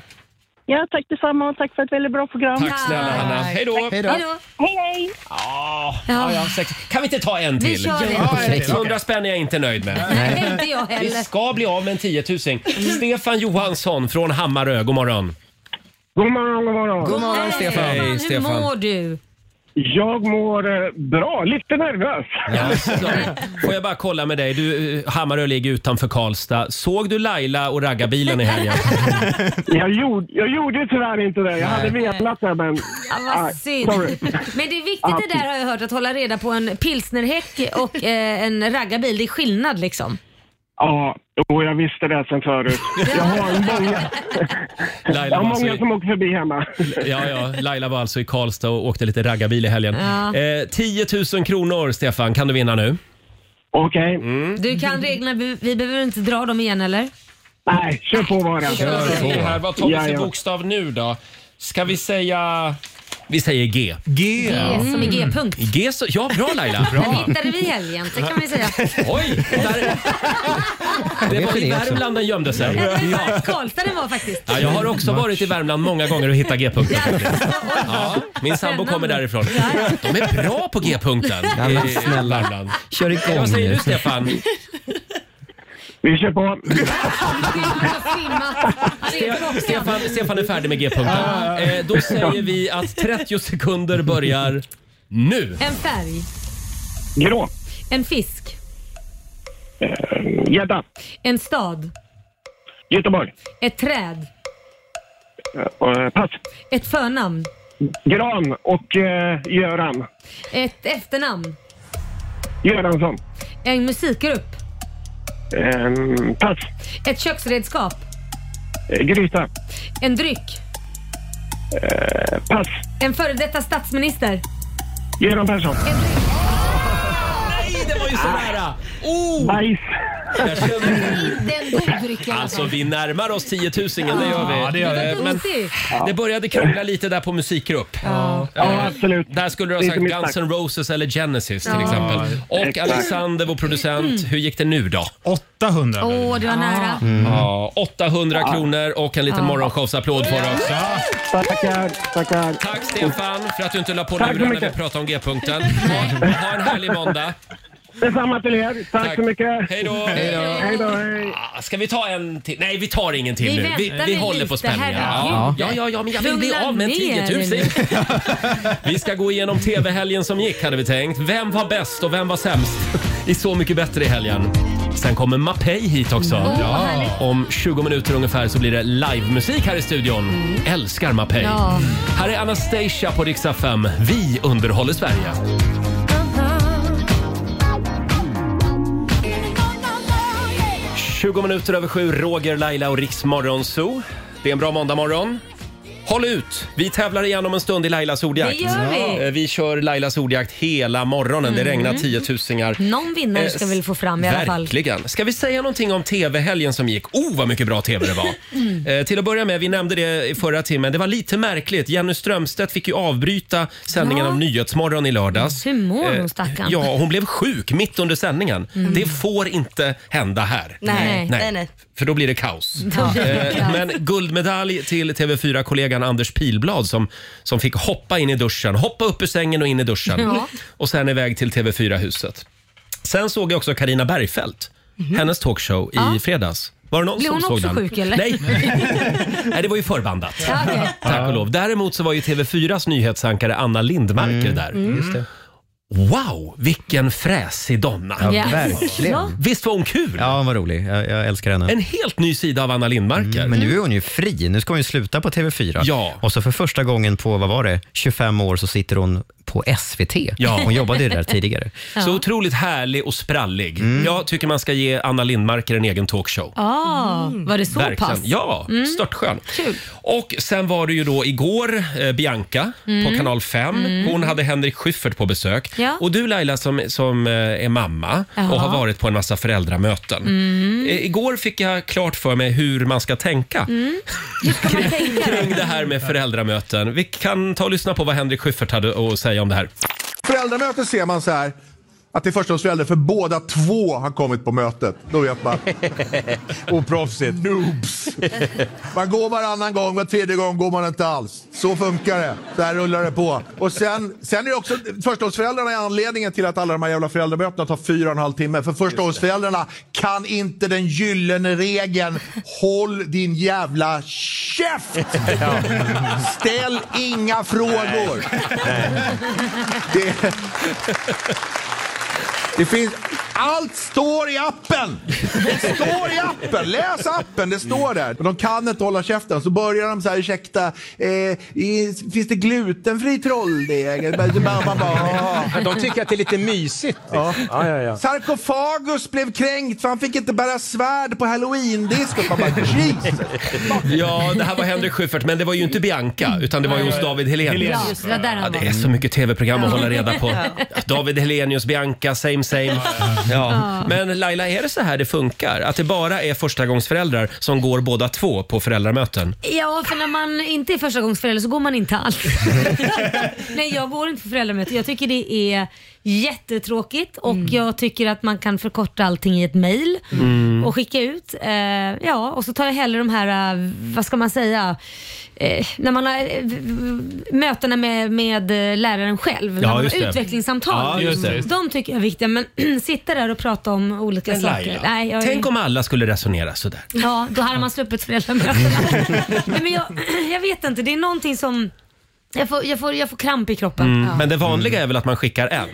Ja, tack detsamma och tack för ett väldigt bra program. Tack snälla Hanna. Hej då! Tack. Hej, hej! Ja, ja. ja, sex- Kan vi inte ta en Vi till? kör en Ja, till. 600 spänn är jag inte nöjd med. Nej, inte jag Vi heller. ska bli av med en 10 000. Stefan Johansson från Hammarö, god morgon. God morgon, god morgon. God morgon, Hej. Stefan. Hej, Hur Stefan. mår du? Jag mår eh, bra, lite nervös. Får jag bara kolla med dig? Du, eh, Hammarö ligger utanför Karlstad. Såg du Laila och raggarbilen i [LAUGHS] helgen? [LAUGHS] Jag gjorde, jag gjorde tyvärr inte det. Jag hade velat det, men... Ja, vad Nej, synd. sorry. Men det är viktigt Ja. det där har jag hört, att hålla reda på en pilsnerhäck och eh, en raggarbil. Det är skillnad liksom. Ja, och jag visste det sen [LAUGHS] förut. Jag har många, jag Laila har var alltså många i, som åker förbi hemma. ja, ja, Laila var alltså i Karlstad och åkte lite raggarbil i helgen. Ja. Eh, 10 000 kronor, Stefan, kan du vinna nu. Mm. Okej. Du kan reglerna, vi- vi behöver inte dra dem igen eller? Nej, kör på bara. Kör på. Här, vad tar vi för Jajamän. bokstav nu då? Ska vi säga... Vi säger G. G, G som i G-punkt. G så, ja, bra Laila. Den hittade vi i helgen, det kan vi säga. Oj! Där, [LAUGHS] det var vi i det också. Värmland den gömde sig. Ja. Karlstad den var faktiskt. Ja, jag har också varit i Värmland många gånger och hittat G-punkter. Ja, min sambo kommer därifrån. De är bra på G-punkten Ja, men i snälla. Värmland. Kör igång Vad säger nu. du Stefan? Vi kör på. Stefan, Stefan är färdig med G-punkten. Eh, då säger vi att 30 sekunder börjar nu. En färg, Grå. en fisk, Gädda. en stad, Eh, Göteborg. ett träd, Eh, Pass. ett förnamn, Gran och eh, Göran. ett efternamn, Göransson. en musikgrupp, Eh, Pass. ett köksredskap, Eh, Gryta. en dryck, Eh, Pass. en före detta statsminister. Göran Persson. Nej, det var ju sådär! Ah. Oh! Bajs. Jag känner- Inte en god dryck i alla Alltså fall. vi närmar oss 10 000, det gör vi. Ja, det gör vi. Eh, Men Duktigt. det började krångla lite där på musikgrupp. Ja, absolut. Där skulle du ha Det är sagt inte mitt Guns N' Roses eller Genesis till Ja. exempel. Ja, Och exakt. Alexander, vår producent, hur gick det nu då? Mm. 800 Åh, det Ah. var nära. Ja, 800 kronor och en liten Ja. morgonshowsapplåd får du också. Tackar, tackar. Tack Stefan för att du inte la på Tack så luren när vi mycket. pratade om G-punkten. Ha, ha en härlig måndag. Detsamma till er. Tack, Tack. så mycket. Hej då. Hej då. Hej då, hej. Ah, Ska vi ta en till? Nej, vi tar ingen till Vi nu. väntar Vi, väl vi håller lite, på spänningen. Ja, herregud. ja, ja, ja, men jag vill bli Lugna av med en ner er 10 000. [LAUGHS] vi ska gå igenom TV-helgen som gick hade vi tänkt. Vem var bäst och vem var sämst i Så mycket bättre i helgen? Sen kommer Mapei hit också. Åh, vad Ja. härligt. Om 20 minuter ungefär så blir det livemusik här i studion. Mm. Älskar Mapei. Ja. Här är Anastasia på Riksa 5. Vi underhåller Sverige. Aha. 20 minuter över sju, Roger, Laila och Riks Morgonzoo. Det är en bra måndagmorgon. Håll ut! Vi tävlar igen om en stund i Lailas ordjakt. Det gör vi. Eh, Vi kör Lailas ordjakt hela morgonen. Det Mm. regnar tiotusingar. Eh, Någon vinnare ska vi väl få fram i alla fall. Verkligen. Ska vi säga någonting om tv-helgen som gick? Oh, vad mycket bra tv det var! Mm. Eh, till att börja med, vi nämnde det i förra timmen, det var lite märkligt. Jenny Strömstedt fick ju avbryta sändningen Ja. av Nyhetsmorgon i lördags. Hur mår Eh, hon stackarn? Ja, hon blev sjuk mitt under sändningen. Mm. Det får inte hända här. Nej, nej, nej. För då blir det [LAUGHS] kaos. Ja. Eh, Men guldmedalj till TV4-kollegan Anders Pilblad som, som fick hoppa in i duschen. Hoppa upp ur sängen och in i duschen. Ja. Och sen iväg till TV4-huset. Sen såg jag också Karina Bergfeldt, hennes talkshow i Mhm. Ja. fredags. Var det någon Blev som hon såg också den? sjuk eller? Nej. Nej, det var ju förbandat. Ja, okej. [LAUGHS] Tack och lov. Däremot så var ju TV4s nyhetsankare Anna Lindmarker där. Mm. Just det. Wow, vilken fräsig donna! Ja, Ja. verkligen. Ja. Visst var hon kul? Ja, hon var rolig. Jag, jag älskar henne. Mm, En helt ny sida av Anna Lindmarker. Men nu är hon ju fri. Nu ska hon ju sluta på TV4. Ja. Och så för första gången på, vad var det, 25 år så sitter hon på SVT. Ja. Hon jobbade ju där tidigare. Så otroligt härlig och sprallig. Mm. Jag tycker man ska ge Anna Lindmarker en egen talkshow. Ah, Var det så Mm. Verkligen. pass? Ja, Mm. störtskön. Och sen var det ju då igår eh, Bianca Mm. på kanal 5. Mm. Hon hade Henrik Schyffert på besök. Ja. Och du Laila som, som eh, är mamma Jaha. och har varit på en massa föräldramöten. Mm. Eh, Igår fick jag klart för mig hur man ska tänka Mm. Hur ska man tänka? kring det här med föräldramöten. Vi kan ta och lyssna på vad Henrik Schyffert hade att säga om det här. Föräldramöten ser man så här att det är förstagångsförälder för båda två har kommit på mötet. Då vet man. Oproffsigt. Noobs. Man går varannan gång, var tredje gång går man inte alls. Så funkar det. Så här rullar det på. Och sen, sen är det också förstagångsföräldrarna är anledningen till att alla de här jävla föräldramötena tar fyra och en halv timme. För förstagångsföräldrarna kan inte den gyllene regeln håll din jävla käft! Ställ inga frågor! [LAUGHS] Det, det finns... Allt står i appen! Det står i appen! Läs appen, det står där. Men de kan inte hålla käften. Så börjar de så här, ursäkta, eh, i, finns det glutenfri trolldeg? Mamma bara, ah. De tycker att det är lite mysigt. Ja. Sarkofagus blev kränkt för han fick inte bära svärd på halloween-disco. Man bara, Jesus! Ja, det här var Henrik Schyffert, men det var ju inte Bianca, utan det var ju hos David Ja, Helenius. just det, det var där han Ja, det var. är så mycket tv-program att Ja. hålla reda på. Ja. David Helenius, Bianca, same same. Ja. Ja. Men Laila, är det så här det funkar? Att det bara är förstagångsföräldrar som går båda två på föräldramöten? Ja, för när man inte är förstagångsförälder så går man inte [LAUGHS] alls. Nej, jag går inte på föräldramöte. Jag tycker det är jättetråkigt och Mm. jag tycker att man kan förkorta allting i ett mejl Mm. och skicka ut. Eh, ja, och så tar jag hellre de här, eh, vad ska man säga, eh, när man har eh, v- v- mötena med, med eh, läraren själv, när man just har det. utvecklingssamtal. Ja, just det. De tycker jag är viktiga, men [CLEARS THROAT] sitta där och prata om olika Men saker. Nej, jag är- tänk om alla skulle resonera sådär. Ja, då hade man [LAUGHS] sluppit föräldramötena. Nej, men jag, [CLEARS THROAT] jag vet inte, det är någonting som... Jag får, jag får, jag får kramp i kroppen. Mm. Ja. Men det vanliga är väl att man skickar en?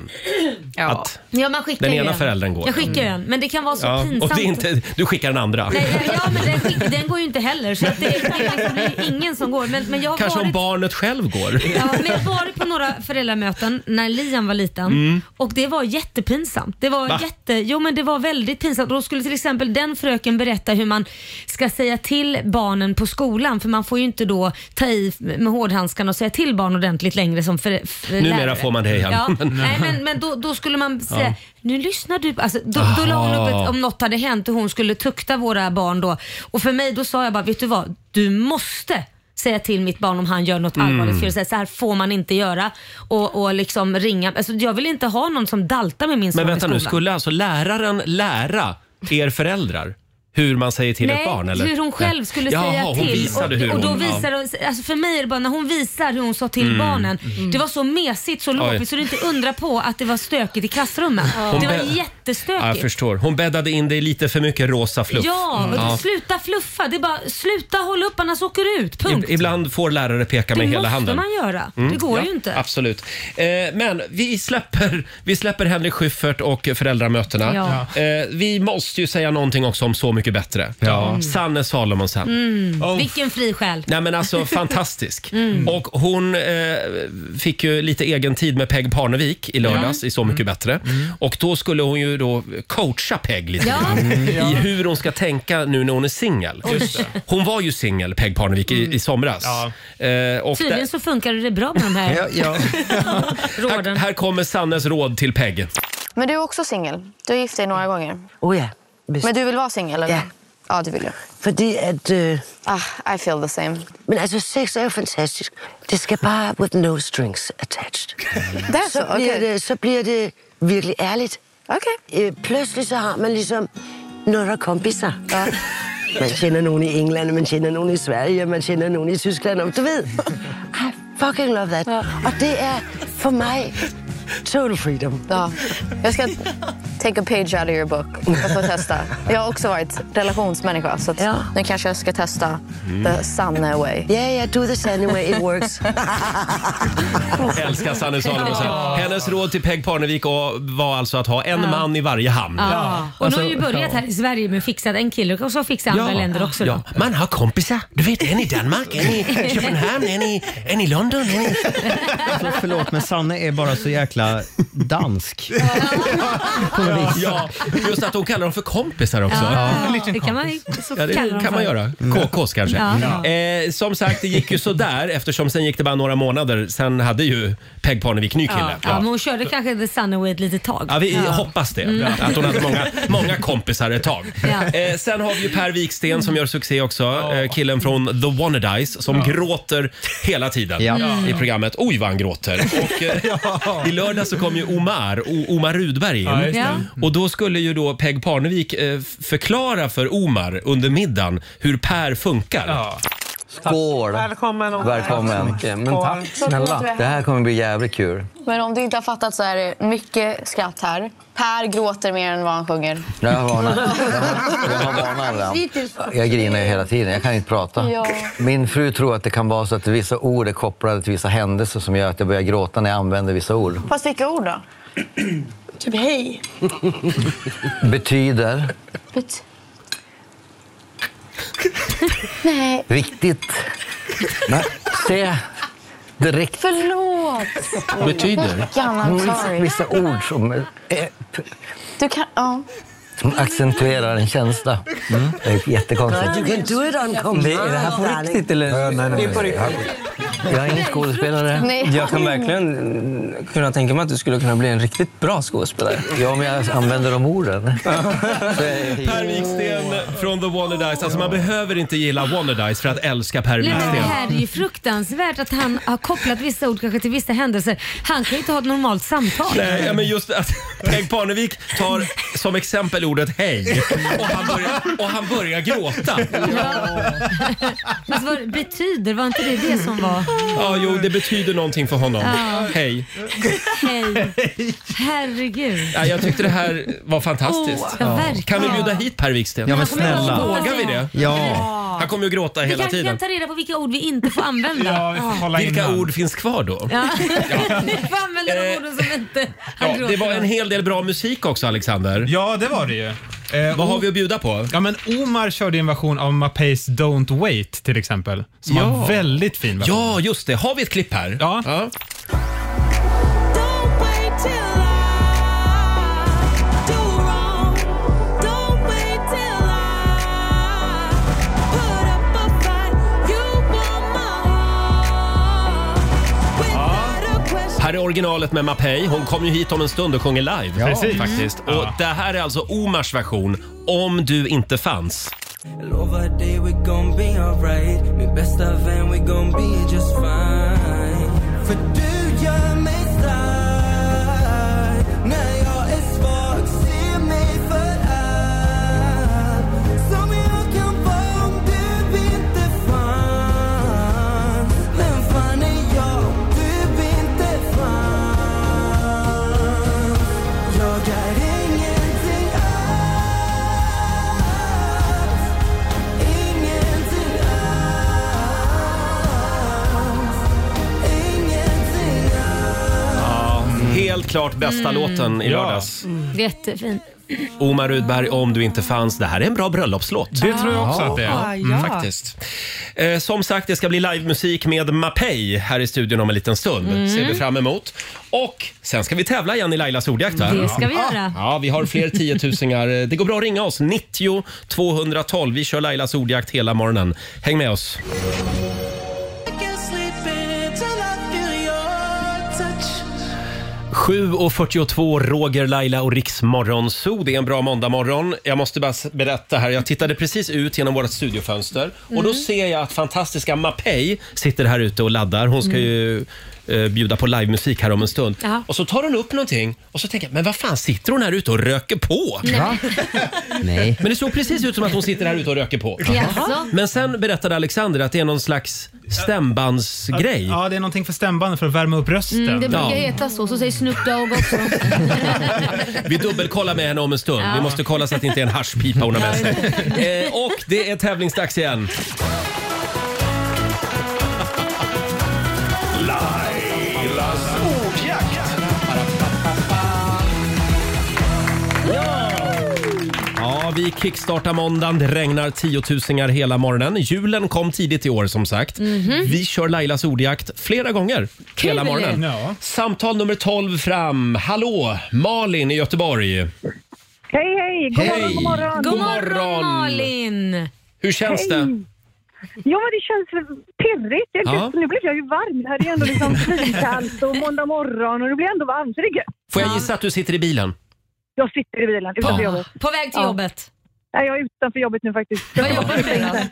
Ja. Att ja, man skickar den ju ena en. föräldern går. Jag skickar ju en, men det kan vara så Ja, pinsamt. och det är inte, du skickar den andra. Nej, ja, ja, men den, skick, den går ju inte heller så att det, det är liksom, det är ingen som går. Men, men jag har Kanske om varit... barnet själv går. Ja, men jag har varit på några föräldramöten när Liam var liten Mm. och det var jättepinsamt. Det var, Va? jätte, jo, men det var väldigt pinsamt. Då skulle till exempel den fröken berätta hur man ska säga till barnen på skolan för man får ju inte då ta i med hårdhandskarna och säga till barn ordentligt längre som för, för Numera lärare. får man det igen. [LAUGHS] Ja, Men- nej, men, men då, då skulle man säga Ja. nu lyssnar du. Alltså, då, då la hon upp ett, Aha. om något hade hänt och hon skulle tukta våra barn då. Och för mig då sa jag bara, vet du vad? Du måste säga till mitt barn om han gör något Mm. allvarligt fel. Så här, så här får man inte göra. Och, och liksom ringa. Alltså, jag vill inte ha någon som daltar med min son Men i vänta nu, skolan. skulle alltså läraren lära er föräldrar hur man säger till Nej, ett barn? Eller? hur hon själv skulle Jaha, säga hon till. Visade och, hur och då hon, visar hon, alltså för mig är det bara när hon visar hur hon sa till Mm. barnen. Mm. Det var så mesigt, så Oj. lopigt så det är inte undra på att det var stökigt i klassrummen. Hon Det var bä- jättestökigt. Ja, jag förstår. Hon bäddade in dig lite för mycket rosa fluff. Mm. Ja, och Ja. sluta fluffa. Det är bara sluta hålla upp annars åker du ut. Punkt. Ib- Ibland får lärare peka Det med hela måste handen. Mm. man göra. Det går ju inte. Absolut. Eh, men vi släpper, vi släpper Henrik Schyffert och föräldramötena. Ja. Eh, vi måste ju säga någonting också om Så mycket bättre. Mm. Sanne Salomonsen. Mm. Oh. Vilken fri själ. Nej men [LAUGHS] alltså fantastisk. Mm. Och hon eh, fick ju lite egen tid med Peg Parnevik i lördags i Så mycket Mm. bättre. Och då skulle hon ju då coacha Peg lite Ja. grann Mm. Ja. i hur hon ska tänka nu när hon är singel. Just det. Mm. Hon var ju singel Peg Parnevik i, i somras. Eh, och Tydligen där- så funkar det bra [LAUGHS] med de här. Ja, [LAUGHS] ja. här, här kommer Sannes råd till Peg. Men du är också singel. Du har gift dig några gånger. Oh ja, Men du vill vara singel? eller? Ja. Ja, det vill du. Fordi at... Øh, Ah, I feel the same. men altså, sex er jo fantastisk. Det skal bare with no strings attached. [LAUGHS] Derfor, så, bliver okay. det, så bliver det virkelig ærligt. Okay. Øh, pludselig så har man ligesom... Når der er kompiser. Ja. Man kender nogen i England, man kender nogen i Sverige, man kender nogen i Tyskland. Og du ved, I fucking love that. Ja. Og det er for mig total freedom. Ja. Jag ska take a page out of your book och få testa. Jag har också varit relationsmänniska, så att nu kanske jag ska testa the sanna way. Mm. Yeah, yeah, do the sanna way. It works. Älskar Sanne Salomonsen. Ja. Hennes råd till Peg Parnevik och- var alltså att ha en Ja. man i varje hamn. Ja. Och nu har ju börjat här i Sverige med fixat en kille och så fixar andra länder också. Då. Alltså, Ja. Man har kompisar. Du vet, en i Danmark, en [LAUGHS] i Köpenhamn, en i, en i London. En i... Alltså, förlåt, men Sanne är bara så jäkla dansk. Ja. ja, just att hon kallar dem för kompisar också. Det kan man, ju- så Ja, det kallar de kan man för. göra. KKs kanske. Ja. Eh, som sagt, det gick ju sådär eftersom sen gick det bara några månader. Sen hade ju Peg Parnevik ny kille. Ja. Ja. men hon körde kanske The Sunny Way ett litet tag. Ja, vi Ja. hoppas det. Mm. Att hon hade många, många kompisar ett tag. Eh, sen har vi ju Per Viksten som gör succé också. Eh, killen från The Wannadies som gråter hela tiden Ja. i programmet. Oj vad han gråter. [LAUGHS] Och, eh, I lördag så kom ju Omar, o- Omar Rudberg in. Ja, just det. Ja. Och då skulle ju då Peg Parnevik eh, förklara för Omar under middagen hur Per funkar. Skål! Välkommen. Välkommen. Men tack snälla. Det här kommer bli jävligt kul. [LAUGHS] Men om du inte har fattat så är det mycket skratt här. Per gråter mer än vad han sjunger. Jag har varnat. [LAUGHS] Jag har varnat redan. Jag grinar ju hela tiden. Jag kan inte prata. Ja. Min fru tror att det kan vara så att vissa ord är kopplade till vissa händelser som gör att jag börjar gråta när jag använder vissa ord. Fast vilka ord då? typ hej. Betyder Bet- Nej, riktigt. Nej. Se direkt. förlåt. Mackan, I'm Vissa, sorry. vissa ord som, är- Du kan... Ja. som accentuerar en känsla. Mm. Det är jättekonstigt. You can do it on command. Det, är det här på riktigt eller? nej, nej, Det är på nej. Jag är ingen skådespelare. Nej. Jag kan verkligen kunna tänka mig att du skulle kunna bli en riktigt bra skådespelare. Ja, men jag använder de [LAUGHS] orden. [LAUGHS] Per Wiksten från The Wannadies. Alltså man behöver inte gilla Wannadies för att älska Per Nej, men det Wiksten. här är ju fruktansvärt att han har kopplat vissa ord kanske till vissa händelser. Han kan ju inte ha ett normalt samtal. Nej, ja, men just att Peg Parnevik tar som exempel ordet hej och han börjar, och han börjar gråta. Fast vad betyder, var inte det det som var? Ja, jo, det betyder någonting för honom. Ja. Hej. Hej. Herregud. Ja, jag tyckte det här var fantastiskt. Åh, Oh, ja, verkligen. Kan vi bjuda hit Per Wiksten? Ja, men snälla. Vågar vi det? Ja. Han kommer ju gråta Vi hela kanske tiden. kan ta reda på vilka ord vi inte får använda. Vilka ord finns kvar då? Ja. [LAUGHS] Ni får använda de orden som inte han Ja, det gråter var en om. hel del bra musik också, Alexander. Ja, det var det ju. Eh, Vad har vi att bjuda på? Ja, men Omar körde en version av Mapeys Don't Wait till exempel. Som var Ja. en väldigt fin version. Ja, just det. Har vi ett klipp här? Ja. Här är originalet med Mapei. Hon kom ju hit om en stund och sjunger live. Ja. Precis. Faktiskt. Mm. Och det här är alltså Omars version, Om du inte fanns. Lovar dig we gon' be alright Min bästa vän we gon' be just fine För du gör mig stark När jag är svag, se mig för allt Som jag kan vara om du inte fanns Vem fan är jag om du inte fanns Jag är ingenting klart bästa Mm. låten i Ja. lördags. Jättefin. Omar Rudberg, Om du inte fanns. Det här är en bra bröllopslåt. Det tror jag också att det är. Ah, Ja. Mm, Faktiskt. Eh, som sagt, det ska bli livemusik med Mapei här i studion om en liten stund. Mm. ser vi fram emot. Och sen ska vi tävla igen i Lailas ordjakt. va? Det ska vi Ja. göra. Ja, vi har fler tiotusingar. Eh, Det går bra att ringa oss. 90 212. Vi kör Lailas ordjakt hela morgonen. Häng med oss. Touch. 7.42, Roger, Laila och Riks Morgonzoo. Det är en bra måndagmorgon. Jag måste bara s- berätta här. Jag tittade precis ut genom vårt studiofönster och då Mm. ser jag att fantastiska Mapei sitter här ute och laddar. Hon ska Mm. ju eh, bjuda på livemusik här om en stund. Ja. Och så tar hon upp någonting och så tänker jag, men vad fan sitter hon här ute och röker på? Nej. Va? Nej. Men det såg precis ut som att hon sitter här ute och röker på. Jaså? Men sen berättade Alexander att det är någon slags stämbandsgrej. Ja, det är någonting för stämbanden för att värma upp rösten. Mm, det brukar heta så, så säger Snoop Dogg [LAUGHS] också. Vi dubbelkollar med henne om en stund. Ja. Vi måste kolla så att det inte är en haschpipa hon har med sig. Eh, och det är tävlingsdags igen. Lailas ordjakt. Ja, vi kickstartar måndagen. Det regnar tiotusingar hela morgonen. Julen kom tidigt i år som sagt. Mhm. Vi kör Lailas ordjakt flera gånger hela Kul. morgonen. Ja. Samtal nummer 12 fram. Hallå, Malin i Göteborg. Hej, hej! God Hej. morgon, god morgon! God morgon. Malin! Hur känns Hej. det? Jo, men det känns pirrigt. Jag, Ja. Nu blev jag ju varm. Det här är ändå [LAUGHS] liksom svinkallt och måndag morgon och det blir ändå varmt, så det är gött. Får jag gissa att du sitter i bilen? Jag sitter i bilen utanför Ja. jobbet. På väg till jobbet? Nej, jag är utanför jobbet nu faktiskt. Vad jobbar du med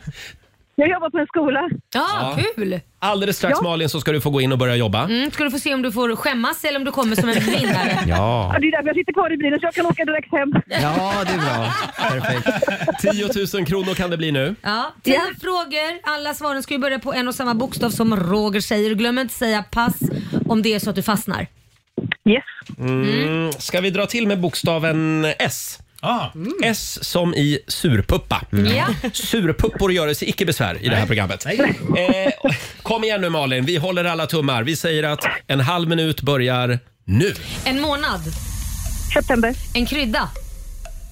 Jag jobbar på en skola. Ja. Kul! Alldeles strax Ja. Malin så ska du få gå in och börja jobba. Mm, ska du få se om du får skämmas eller om du kommer som en vinnare. Ja. Ja, det är därför jag sitter kvar i bilen så jag kan åka direkt hem. Ja, det är bra. Perfekt. 10 000 kronor kan det bli nu. Ja, tio frågor. Alla svaren ska ju börja på en och samma bokstav som Roger säger. Glöm inte säga pass om det är så att du fastnar. Mm. Ska vi dra till med bokstaven S? Mm. S som i surpuppa. Ja. Surpuppor gör sig icke besvär i det här programmet. Eh, kom igen nu Malin, vi håller alla tummar. Vi säger att en halv minut börjar nu. En månad. September. En krydda.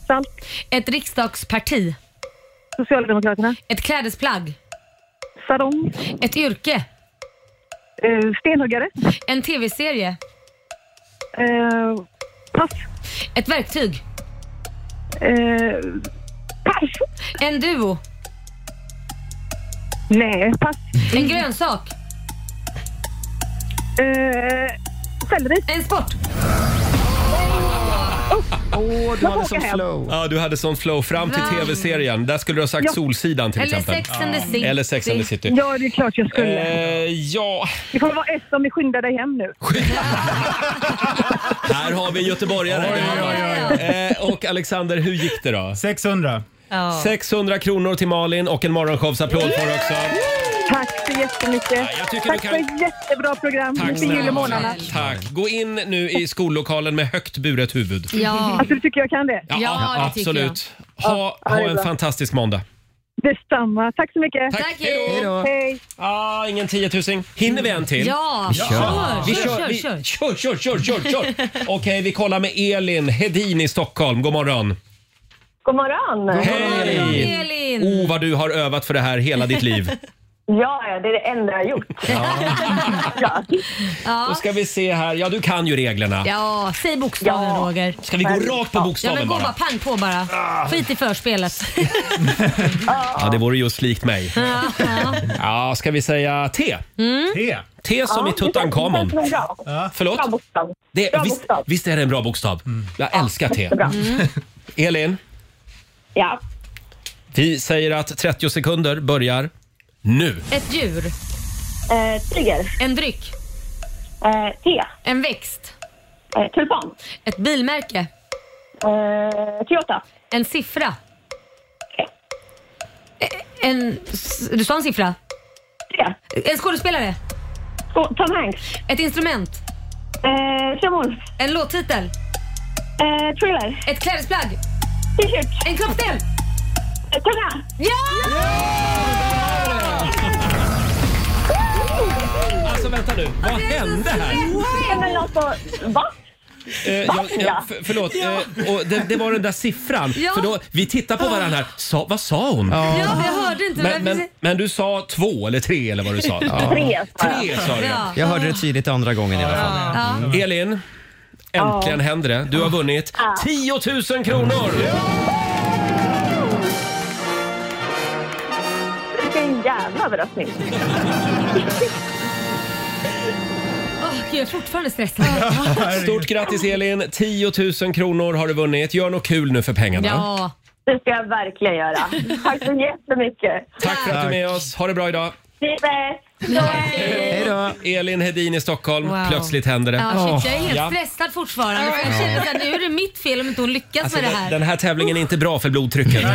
Salt. Ett riksdagsparti. Socialdemokraterna. Ett klädesplagg. Sarong. Ett yrke. Eh, stenhuggare. En tv-serie. Eh, pass. Ett verktyg. pass. En duo. Nej, pass. En grönsak. Eh, Selleri. En sport. Åh, du hade sån flow. Ja, du hade sån flow fram till Va? tv-serien. Där skulle du ha sagt Ja. Solsidan till Eller exempel. Sex and the Ja. City. Eller Sex and the City. Ja, det är klart jag skulle. Eh, ja, Det kommer vara ett som är skynda dig hem nu. här har vi en göteborgare. Eh, och Alexander, hur gick det då? 600. Ja. 600 kronor till Malin och en morgonshowsapplåd får du också. Tack så jättemycket. tycker Tack du för kan- ett jättebra program Tack inför snälla. julemånaderna. Tack. Gå in nu i skollokalen med högt buret huvud. Alltså, du tycker jag kan det? Ja, absolut. Ha, Ja, det ha är en bra. fantastisk måndag. Detsamma. Tack så mycket. Tack. Hej då. Hej. Ah, ingen tiotusing. Hinner vi en till? Ja, Vi kör, Vi kör, kör, kör, vi- kör. kör, kör, kör, kör, kör. Okej, vi kollar med Elin Hedin i Stockholm. God morgon. God morgon! Hej! Elin! Oh, vad du har övat för det här hela ditt [LAUGHS] liv. Ja, ja, det är det enda jag har gjort. Då ska vi se här. Ja, du kan ju reglerna. Ja, säg bokstaven Roger. Ska vi gå rakt på bokstaven ja, men gå bara? Ah. bara? Pang på bara. Skit [LAUGHS] i förspelet. Ja, det vore just likt [LAUGHS] mig. Ja, ska vi säga T? T. Mm. T som i Tutankhamon. Förlåt? Det, visst, visst är det en bra bokstav? Jag älskar T. Mm. jättebra. Mm. Elin, Ja. vi säger att 30 sekunder börjar nu. Ett djur. Eh, tiger. En dryck. Eh, te. En växt. eh, tulpan. Ett bilmärke. Eh, Toyota. En siffra. Eh, En, du sa en siffra? Ja. En skådespelare? Tom Hanks. Eh, Ett instrument? Tremol. En låttitel? Eh, thriller. Ett klädesplagg? T-shirt. Eh, En kroppsdel? Tunga. Ja! Alltså vänta nu, vad hände här? Va? Eh, jag, jag, för, förlåt, eh, och det, det var den där siffran. Ja. För då, vi tittar på varandra här. Sa, vad sa hon? Ja, jag hörde inte. Men, men, men du sa två eller tre eller vad du sa? Ja. [LAUGHS] Tre sa jag. Tre sa du. Ja. Jag hörde det tydligt andra gången i alla fall. Mm. Ja. Elin, äntligen händer det. Du har vunnit 10 000 kronor! Vilken jävla överraskning. [LAUGHS] Åh, Gud, jag är fortfarande stressad. Stort grattis Elin! 10 000 kronor har du vunnit. Gör något kul nu för pengarna. Ja. Det ska jag verkligen göra. Tack så jättemycket. Tack för att du är med oss. Ha det bra idag! Det är bäst. Hej då! Elin Hedin i Stockholm. Wow. Plötsligt händer det. Ja, shit, jag är helt Ja. stressad fortfarande. För jag Ja. känner att nu är det mitt fel om inte hon lyckas Alltså, med det den, här. den här tävlingen är inte bra för blodtrycket. eh,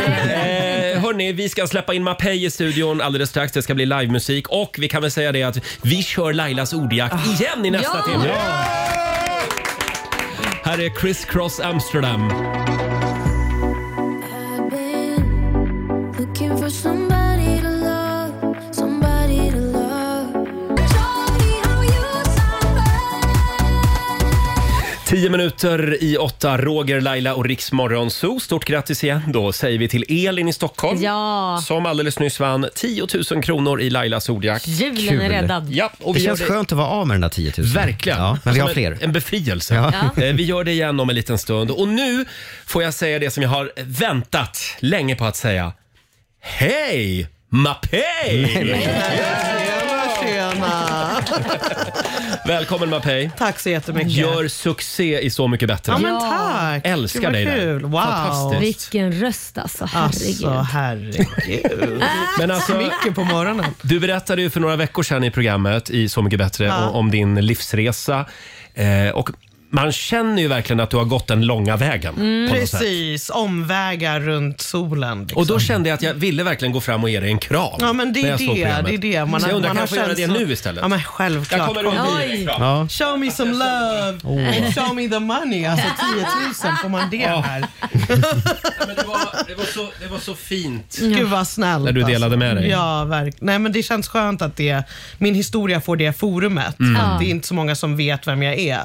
hörni, vi ska släppa in Mapei i studion alldeles strax. Det ska bli livemusik och vi kan väl säga det att vi kör Lailas ordjakt Ah. igen i nästa Ja! timme. Ja! Här är Chris Cross Amsterdam. I've been looking for somebody to love, somebody to love. Show me how you Tio minuter i åtta, Roger, Laila och Riks Morgonzoo. Stort grattis igen då säger vi till Elin i Stockholm. Ja. Som alldeles nyss vann 10 000 kronor i Lailas ordjakt. Julen är räddad. Ja, och det vi gör känns skönt att vara av med den där 10 000. Verkligen. Alltså, Ja, men vi har Som en- fler. En befrielse. Eh, Vi gör det igen om en liten stund. Och nu får jag säga det som jag har väntat länge på att säga. Hej! Mapei! Tjena! Välkommen Mapei. Tack så jättemycket. Gör succé i Så mycket bättre. Ja, men tack. Älskar Gud, vad dig där. kul. Wow. Fantastiskt. Vilken röst alltså, herregud. Alltså herregud. Men alltså, Mycket på morgonen. Du berättade ju för några veckor sedan i programmet i Så mycket bättre Ja. om, om din livsresa. Eh, och man känner ju verkligen att du har gått den långa vägen. Mm. på något sätt. Mm, Precis, omvägar runt solen. Liksom. Och då kände jag att jag ville verkligen gå fram och ge dig en kram. Ja men det när är jag såg det. programmet. det, är det. Man, så jag undrar, man kan jag få göra känt det så- nu istället? Ja men självklart. Jag kommer runt och ger dig en kram. Ja. Show me some love, Åh. show me the money. Alltså 10 000, får man det Oh. Ja. här? Det var så, det var så fint. Gud vad snällt. alltså. När du delade med dig. Ja, verkligen. Nej, men det känns skönt att det, min historia får det forumet. Mm. Att Ja. det är inte så många som vet vem jag är.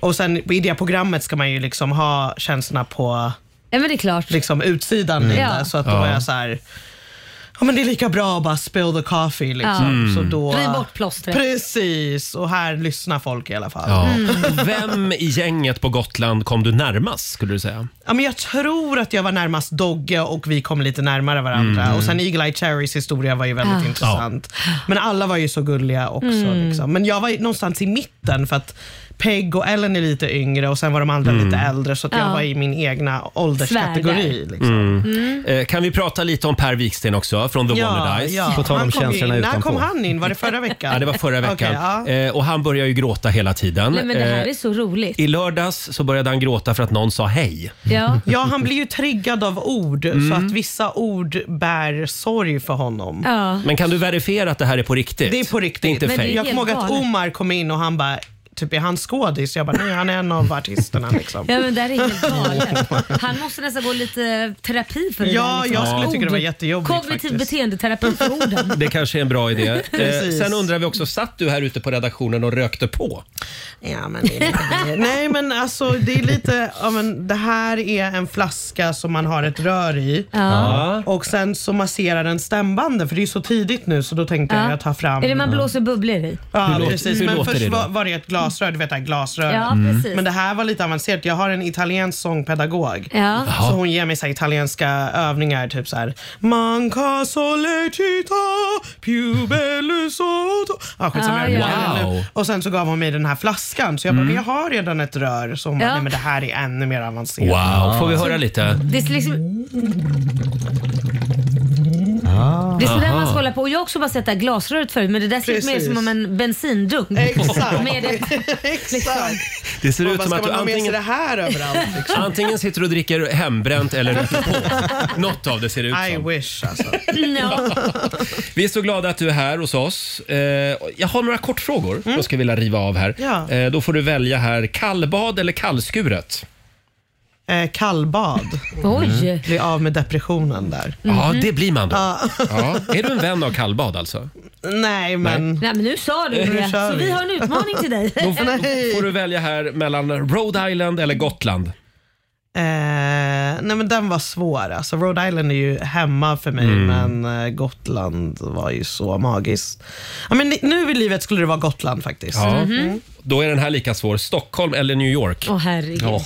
Och sen i det programmet ska man ju liksom ha känslorna på ja, men det är klart. Liksom utsidan Mm. lite. Ja. Så att då Ja. var jag så här, ja men det är lika bra att bara spill the coffee. Ja. Liksom. Mm. Så då, Riv bort plåstret. Mm. Precis, och här lyssnar folk i alla fall. Ja. Och Vem i gänget på Gotland kom du närmast skulle du säga? Ja, men jag tror att jag var närmast Dogge och vi kom lite närmare varandra. Mm. Och sen Eagle Eye Cherries historia var ju väldigt Ah. Ja. intressant. Men alla var ju så gulliga också. Mm. Liksom. Men jag var ju någonstans i mitten för att Peg och Ellen är lite yngre och sen var de andra Mm. lite äldre så att jag Ja. var i min egna ålderskategori. Liksom. Mm. Eh, Kan vi prata lite om Per Wiksten också från The Wannadies? Han kom ju in. När kom han in? Var det förra veckan? Ja, det var förra veckan. Okej, ja. Eh, Och han börjar ju gråta hela tiden. Nej, men det här Eh, är så roligt. I lördags så började han gråta för att någon sa hej. Ja. [LAUGHS] ja, han blir ju triggad av ord, Mm. så att vissa ord bär sorg för honom. Men kan du verifiera att det här är på riktigt? Det är på riktigt. Det är inte fejk. Jag kommer ihåg att Omar kom in och han bara, typ är han skådis? Jag bara, nej han är en av artisterna liksom. Ja men det här är helt galet. Han måste nästan gå lite terapi för det Ja, där, jag skulle tycka det var Ord. jättejobbigt Kognitiv faktiskt. beteendeterapi [LAUGHS] för orden. Det kanske är en bra idé. Eh, Precis. sen undrar vi också, satt du här ute på redaktionen och rökte på? Ja, men det är, [LAUGHS] nej men alltså det är lite, ja, men det här är en flaska som man har ett rör i Ja. och sen så masserar den stämbanden för det är så tidigt nu så då tänkte jag Ja. jag tar fram Är det man blåser bubblor i? Ja, Hur låter- precis. hur Men låter först det då? var, var det ett glasrör, du vet det här glasröret. Ja, Mm. precis. Men det här var lite avancerat. Jag har en italiensk sångpedagog. Ja. Jaha. Så hon ger mig så här, italienska övningar, typ så här. Manca solecita, più bello sotto. Ja, skitsamma, Ah, jag ja. kommer Wow. nu. Och sen så gav hon mig den här flaskan. Så jag bara, Mm. men jag har redan ett rör. Så hon bara, Ja. nej men det här är ännu mer avancerat. Wow, får vi höra lite? Det är liksom... Det är sådär man ska hålla på. Och jag har också bara sett det här glasröret förut men det där ser ut mer Precis. som om en bensindunk. Exakt. [LAUGHS] Med ett, liksom. [LAUGHS] Det ser Man ut bara, som ska att du man ha med sig antingen... det här överallt, [LAUGHS] liksom? Antingen sitter du och dricker hembränt eller röker [LAUGHS] på. Något av det ser det ut I som. wish alltså. Vi är så glada att du är här hos oss. Eh, Jag har några kortfrågor jag skulle vilja riva av här. Mm. Ja. Eh, Då får du välja här, kallbad eller kallskuret? eh, kallbad. Oj. Mm. Bli av med depressionen där. Ja, det blir man då. Mhm. Ja. Ja. Är du en vän av kallbad [LAUGHS] alltså? Nej, men... Nej, men nu sa du Nu det, kör så vi. vi har en utmaning [LAUGHS] till dig. Då får, då får du välja här mellan Rhode Island eller Gotland. Eh, nej men den var svår. Alltså, Rhode Island är ju hemma för mig, Mm. men eh, Gotland var ju så magiskt. Ja, men ni- nu i livet skulle det vara Gotland faktiskt. Mm. Ja. Mm. Mm-hmm. Då är den här lika svår. Stockholm eller New York? Mhm. Åh herregud. Ja.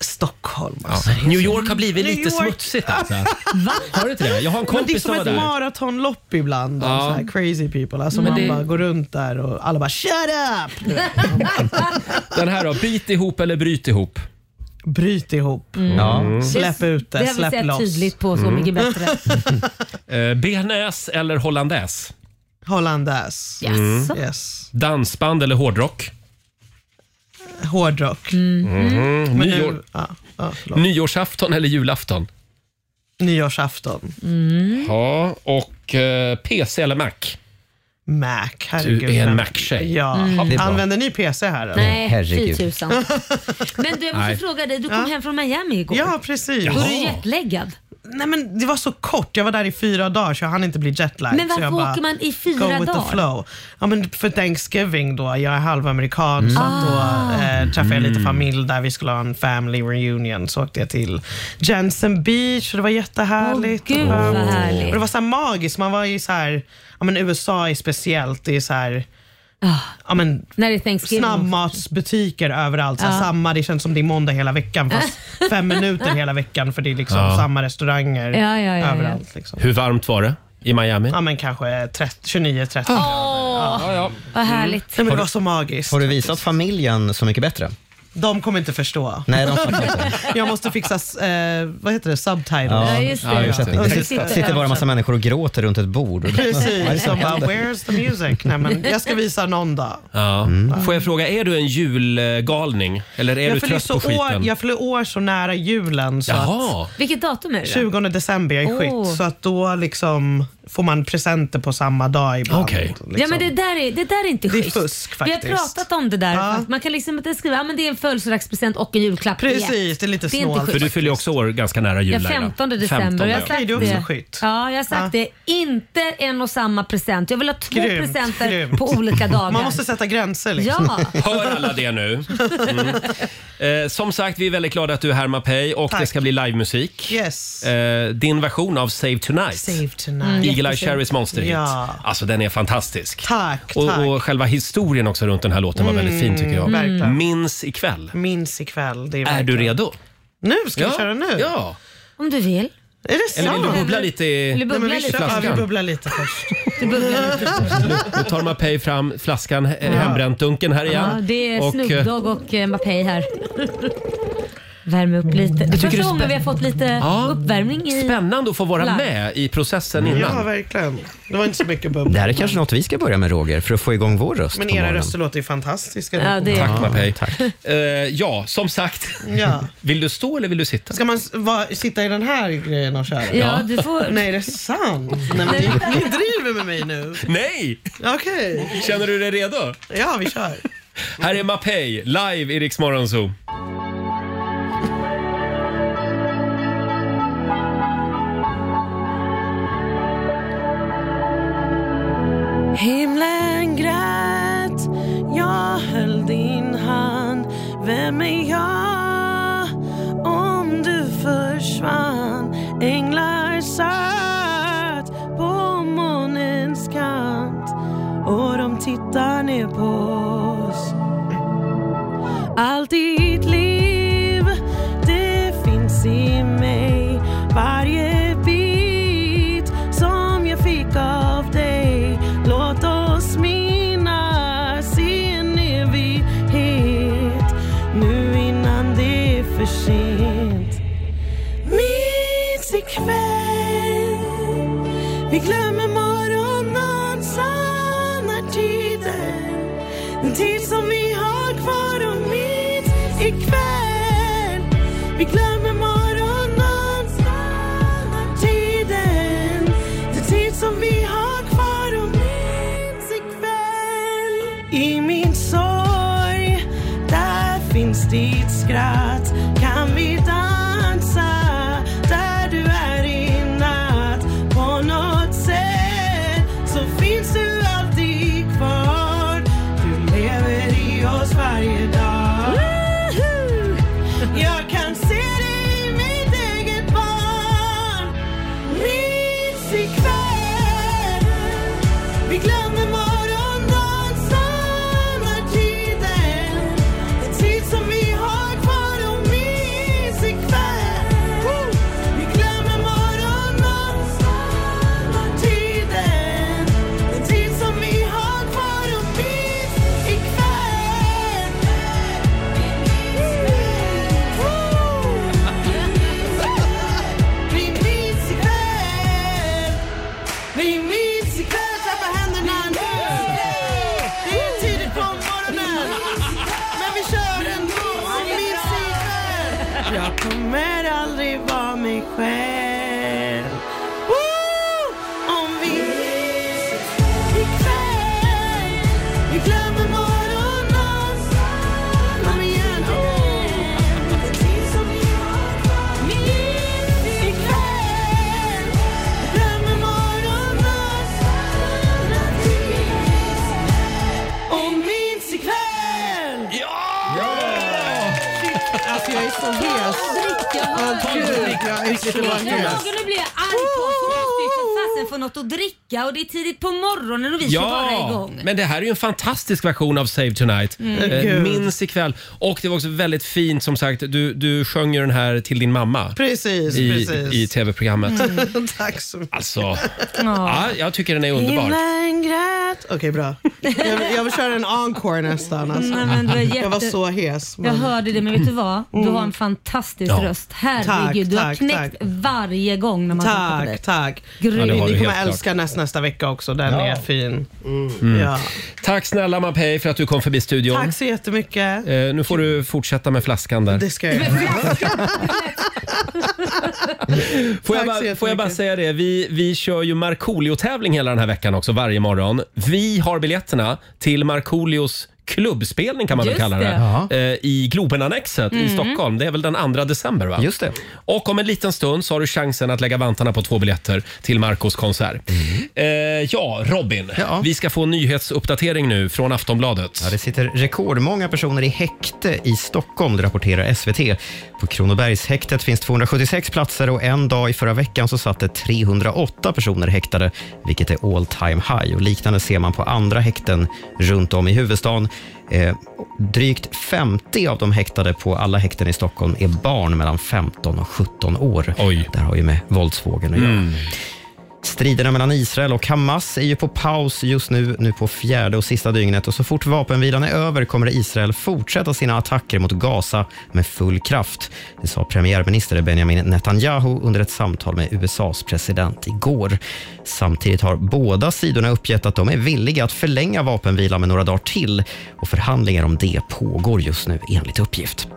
Stockholm alltså. New York har blivit New lite York. smutsigt alltså. Har du inte det? Jag har en [LAUGHS] Men det är kompis som som var ett där. maratonlopp ibland. av Ja. Så här crazy people. Alltså Men man det- bara går runt där och alla bara “shut [LAUGHS] up”. Den här då, bit ihop eller bryt ihop? Bryt ihop. Mm. Ja. Släpp ut Det det, har vi släpp sett loss. tydligt på Så Mm. mycket bättre. Eh, bearnaise eller hollandaise? [LAUGHS] Hollandaise. Mm. Yes. Dansband eller hårdrock? Hårdrock. Mm. Mhm. Men Nyår- nu, Mm. ja, ja, förlåt. Nyårsafton eller julafton? Nyårsafton. Mm. Ja, och eh, PC eller Mac? Mac, herregud. Du är en Mac-tjej. Ja. Mm. Det är bra. Använder ni PC här? eller? Nej, Herregud. fy tusan. Men du, jag måste Nej. fråga dig, du kom Ja. hem från Miami igår. Ja, precis. Var du Jaha. jetlaggad? Nej men det var så kort, jag var där i fyra dagar så jag hann inte bli jetlagged. Men varför så jag bara, åker man i fyra go with dagar? The flow. Ja, men för Thanksgiving då, jag är halvamerikan så att då Ah. eh, träffade jag lite Mm. familj där vi skulle ha en family reunion så åkte jag till Jensen Beach och det var jättehärligt. Åh, gud, och, vad härligt. och det var så här magiskt, man var ju så här, ja men USA är speciellt, det är så här Ja, men Ah. När det är Thanksgiving. Ah. snabbmatsbutiker överallt. Så här, Ja. samma, det känns som det är måndag hela veckan fast fem minuter hela veckan för det är liksom Ja. samma restauranger Ah. Ja, ja, ja, ja. överallt. Liksom. Hur varmt var det i Miami? Ja, men kanske 29-30 Åh, vad härligt. Nej, men det var så magiskt. Har du visat familjen Så mycket bättre? De kommer inte förstå. Nej, de fattar jag måste fixa eh, vad heter det? subtitles. översättning. Det sitter, sitter bara en massa människor och gråter runt ett bord. [LAUGHS] Precis, de bara “Where's the music?” Nej, men jag ska visa någon dag. Ja. Får jag fråga, är du en julgalning? Eller är jag du fyller ju trött så på skiten? År, jag fyller år så nära julen. Så Jaha. att, Vilket datum är det? då? 20 december, jag är Åh. skytt, så att då liksom får man presenter på samma dag ibland. Liksom. Ja men det där är, det där är inte Det är schysst. fusk, Vi har faktiskt. pratat om det där. Att Man kan liksom inte skriva att men det är en födelsedagspresent och en julklapp i ett. inte schysst. För du fyller ju också år ganska nära jul. Ja, Laila. 15 december. 15, jag har ja. sagt Ja, jag har sagt det. Inte en och samma present. Jag vill ha två Grymt, presenter grymt. på olika dagar. Man måste sätta gränser liksom. Ja. [LAUGHS] Hör alla det nu? Mm. Eh, som sagt, vi är väldigt glada att du är här Mapei och det Tack. ska bli livemusik. Yes. Eh, din version av Save Tonight. Save tonight. Eagle Eye Cherrys monsterhit. Ja. Alltså den är fantastisk. Tack, tack. Och, och själva historien också runt den här låten var väldigt fin tycker jag. Mm, verkligen. Minns ikväll. Minns ikväll. Det Är är, du verkligen- redo? Nu? Ska ja. vi köra nu? Ja. Om du vill. [LAUGHS] Är det Eller vill sant? du bubbla lite i, Vill du bubbla i lite? flaskan? Ja, vi bubblar lite först. Du bubblar lite Nu, nu tar Mapei fram flaskan, ja. hembränt dunken här igen. Ja, det är Och, Snoop Dogg och eh, Mapei här. Värme upp lite. Det är tycker det är första gången spä- vi har fått lite Ja. uppvärmning i... Spännande att få vara Live. med i processen Ja, innan. verkligen. Det var inte så mycket bubbel. Det här är kanske något vi ska börja med Roger, för att få igång vår röst Men på era morgonen. röster låter ju fantastiska. Ja, det är- Tack, Mapei. Tack. Eh, ja, som sagt. [LAUGHS] Ja. Vill du stå eller vill du sitta? Ska man s- va, sitta i den här grejen och köra? Ja, du får- Nej, det är sant. Nej, men ni, ni driver med mig nu. Nej! Okej. Känner du dig redo? Ja, vi kör. Här är Mapei, live i Rix Morgon Zoo. Himlen grät, jag höll din hand. Vem är jag om du försvann? Änglar söt på månens kant och de tittar ner på oss. Allt i ditt liv, det finns i mig. Varje bit som jag fick av dig. Låt oss minnas i en evighet. Nu innan det är för sent. Minns ikväll. Vi glömmer morgonen, sannar tiden. Den tid som vi har kvar och minns ikväll. Vi glömmer morgonen, sannar tiden. Den tid som vi har kvar och minns ikväll. I min sorg, där finns ditt skratt. Kan vi dansa dig själv. Woo! Om vi ikväll, vi glömmer morgonen. Kom igen, åh. Den tid som vi har kvar. Minns ikväll, vi glömmer morgonen. Sanna tid. Och minns ikväll. Alltså jag är så hes. Ja, ta en drink. Jag är så hes. Nu blir jag arg på oss. Nu måste vi för fasen få något att dricka och det är tidigt på morgonen och vi ska vara igång. men det här är ju en fantastisk version av Save Tonight. Mm. Eh, Gud. minns ikväll. Och det var också väldigt fint som sagt. Du, du sjöng ju den här till din mamma. Precis, I, precis. i tv-programmet. Mm. [LAUGHS] Tack så mycket. Alltså, ja, jag tycker den är underbar. Himlen grät. Okej, bra. Jag vill, jag vill köra en encore nästan. Alltså. Nej, men du är jätte- Jag var så hes. Jag hörde det, men vet du vad? Du har en fantastisk Ja. röst. Herregud, Tack, du har tack, knäckt varje gång när man tittar på dig. Tack, tack. Grym. Ja, det Ni har du kommer helt älska näst, nästa vecka också. Den Ja. är fin. Mm. Ja. Tack snälla Mapei för att du kom förbi studion. Tack så jättemycket. Eh, nu får du fortsätta med flaskan där. Det ska jag göra. [LAUGHS] Får jag, Tack så bara, får jag bara säga det, vi, vi kör ju Markoolio-tävling hela den här veckan också, varje morgon. Vi har biljetterna till Markoolios klubbspelning kan man Just väl kalla det, det. Eh, i Globenannexet i Mm. Stockholm. Det är väl den 2 december? va? Just det. Och om en liten stund så har du chansen att lägga vantarna på två biljetter till Marcos konsert. Mm. Eh, ja, Robin, vi ska få en nyhetsuppdatering nu från Aftonbladet. Ja, det sitter rekordmånga personer i häkte i Stockholm, det rapporterar SVT. På Kronobergshäktet finns 276 platser och en dag i förra veckan så satt det 308 personer häktade, vilket är all time high. Och liknande ser man på andra häkten runt om i huvudstaden. Eh, drygt 50 av de häktade på alla häkten i Stockholm är barn mellan 15 och 17 år. Oj. Det här har ju med våldsvågen att göra. Mm. Striderna mellan Israel och Hamas är ju på paus just nu, nu på fjärde och sista dygnet. Och så fort vapenvilan är över kommer Israel fortsätta sina attacker mot Gaza med full kraft. Det sa premiärminister Benjamin Netanyahu under ett samtal med USAs president igår. Samtidigt har båda sidorna uppgett att de är villiga att förlänga vapenvilan med några dagar till. Och förhandlingar om det pågår just nu enligt uppgift.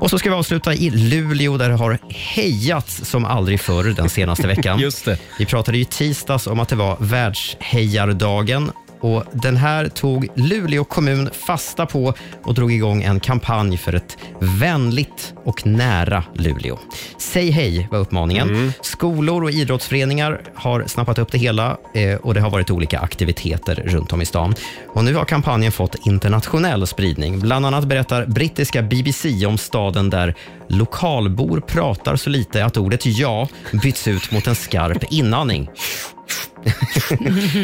Och så ska vi avsluta i Luleå där det har hejats som aldrig förr den senaste veckan. [LAUGHS] Just det. Vi pratade ju i tisdags om att det var världshejardagen och den här tog Luleå kommun fasta på och drog igång en kampanj för ett vänligt och nära Luleå. Säg hej var uppmaningen. Mm. Skolor och idrottsföreningar har snappat upp det hela eh, och det har varit olika aktiviteter runt om i stan. Och nu har kampanjen fått internationell spridning. Bland annat berättar brittiska BBC om staden där lokalbor pratar så lite att ordet ja byts ut mot en skarp [LAUGHS] inandning.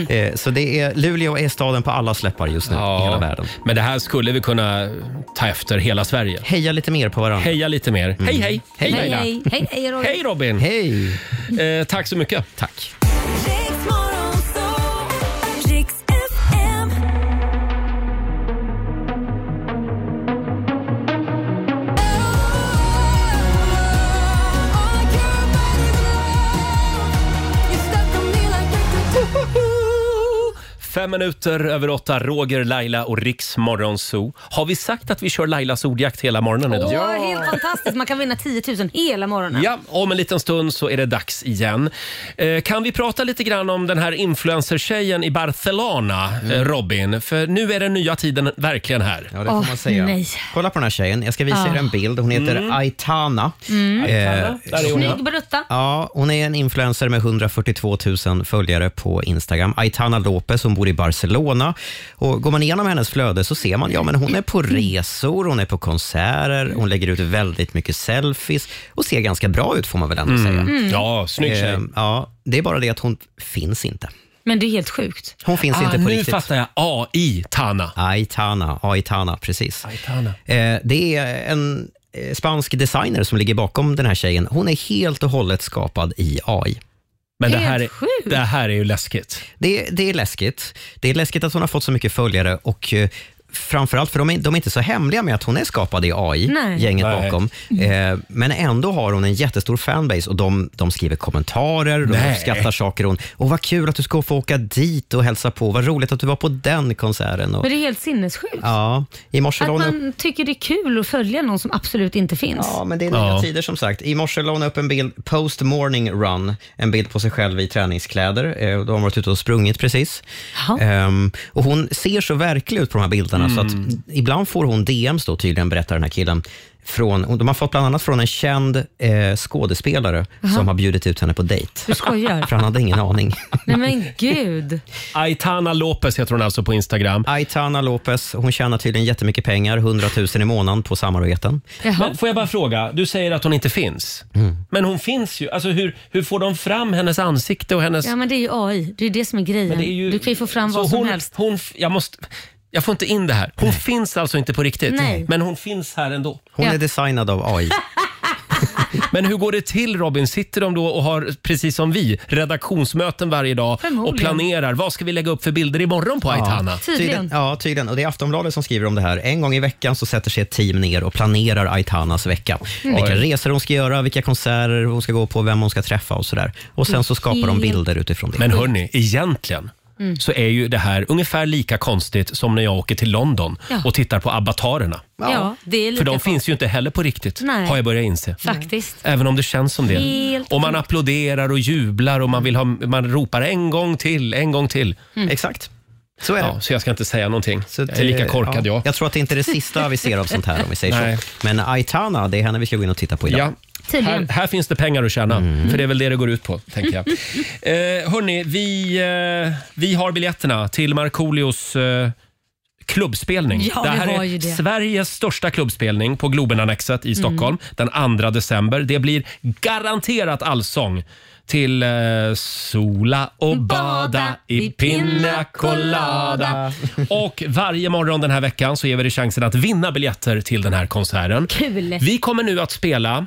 Eh, så det är, Luleå är staden på alla släppar just nu i hela världen. Men det här skulle vi kunna ta efter hela Sverige. Heja lite mer på varandra. Mm. Heja lite mer. Hej, hej! Hej, hej, Laila. hej, hej, hej, Roger. Hej Robin! Hej! Eh, tack så mycket. Tack. Fem minuter över åtta, Roger, Laila och Riks Morgonzoo. Har vi sagt att vi kör Lailas ordjakt hela morgonen idag? Åh, helt fantastiskt. Man kan vinna 10 000 hela morgonen. Ja, om en liten stund så är det dags igen. Eh, kan vi prata lite grann om den här influencertjejen i Barcelona, eh, Robin? För nu är den nya tiden verkligen här. Mm. Ja, det får man säga. Kolla på den här tjejen. Jag ska visa Ah. er en bild. Hon heter Mm. Aitana. Mm. Eh, Snygg brutta. Ja, hon är en influencer med 142 000 följare på Instagram. Aitana Lopez, hon bor i Barcelona. Och går man igenom hennes flöde så ser man, ja men hon är på resor, hon är på konserter, hon lägger ut väldigt mycket selfies och ser ganska bra ut får man väl ändå Mm. säga. Mm. Ja, snygg tjej. Eh, Ja, det är bara det att hon finns inte. Men det är helt sjukt. Hon finns Ah, inte på nu riktigt. fattar jag. AI-Tana. AI-Tana, AI-Tana, precis. Aitana. Eh, det är en eh, spansk designer som ligger bakom den här tjejen. Hon är helt och hållet skapad i AI. Men det här, är, det här är ju läskigt. Det, det är läskigt. Det är läskigt att hon har fått så mycket följare och eh, Framförallt för de är, de är inte så hemliga med att hon är skapad i AI, Nej. gänget Nej. bakom. Mm. Eh, men ändå har hon en jättestor fanbase och de, de skriver kommentarer, de Nej. uppskattar saker. Hon, och vad kul att du ska få åka dit och hälsa på. Vad roligt att du var på den konserten. Och, Men det är helt sinnessjukt. ja, i morse Att la hon upp- man tycker det är kul att följa någon som absolut inte finns. Ja, men det är nya tider som sagt. I morse la hon upp en bild, post morning run, en bild på sig själv i träningskläder. Eh, Då har hon varit ute och sprungit precis. Ehm, och hon ser så verklig ut på de här bilderna så att Mm. ibland får hon DMs då tydligen, berättar den här killen. Från, och de har fått bland annat från en känd eh, skådespelare Jaha. som har bjudit ut henne på dejt. Du skojar? För han hade ingen [LAUGHS] aning. [LAUGHS] Nej men gud. Aitana Lopez heter hon alltså på Instagram. Aitana Lopez, hon tjänar tydligen jättemycket pengar, 100 000 i månaden på samarbeten. Men får jag bara fråga, du säger att hon inte finns. Mm. Men hon finns ju. Alltså hur, hur får de fram hennes ansikte och hennes... Ja men det är ju AI, det är det som är grejen. Men det är ju- Du kan ju få fram Så vad som hon, helst. Hon, f- jag, måste, jag får inte in det här. Hon finns alltså inte på riktigt. Nej. Men hon finns här ändå. Hon är designad av [LAUGHS] AI. Men hur går det till Robin? Sitter de då och har, precis som vi, redaktionsmöten varje dag och Förmodligen. planerar vad ska vi lägga upp för bilder imorgon på Aitana? Ja, tydligen. Och det är Aftonbladet som skriver om det här. En gång i veckan så sätter sig ett team ner och planerar Aitanas vecka. Mm. Vilka Oj. resor hon ska göra, vilka konserter hon ska gå på, vem hon ska träffa och sådär. Och sen så skapar de Helt- bilder utifrån det. Men hörni, egentligen Mm. så är ju det här ungefär lika konstigt som när jag åker till London Ja. och tittar på avatarerna. Ja, det är lika För de konstigt. finns ju inte heller på riktigt, Nej. har jag börjat inse. Faktiskt. Även om det känns som det. Helt och man sjukt. applåderar och jublar och man, vill ha, man ropar en gång till, en gång till. Mm. Exakt. Så är Ja, så jag ska inte säga någonting. jag är det- lika korkad ja. jag. Jag tror att det är inte är det sista vi ser av sånt här om vi säger Nej. så. Men Aitana, det är henne vi ska gå in och titta på idag. Ja. Här, här finns det pengar att tjäna, Mm. för det är väl det det går ut på. [LAUGHS] tänker jag. eh, hörni, vi, eh, vi har biljetterna till Markoolios eh, klubbspelning. Ja, det vi här har är ju det. Sveriges största klubbspelning på Globenannexet i Stockholm Mm. den 2 december. Det blir garanterat allsång till eh, Sola och bada i pina colada. Och varje morgon den här veckan så ger vi dig chansen att vinna biljetter till den här konserten. Kul. Vi kommer nu att spela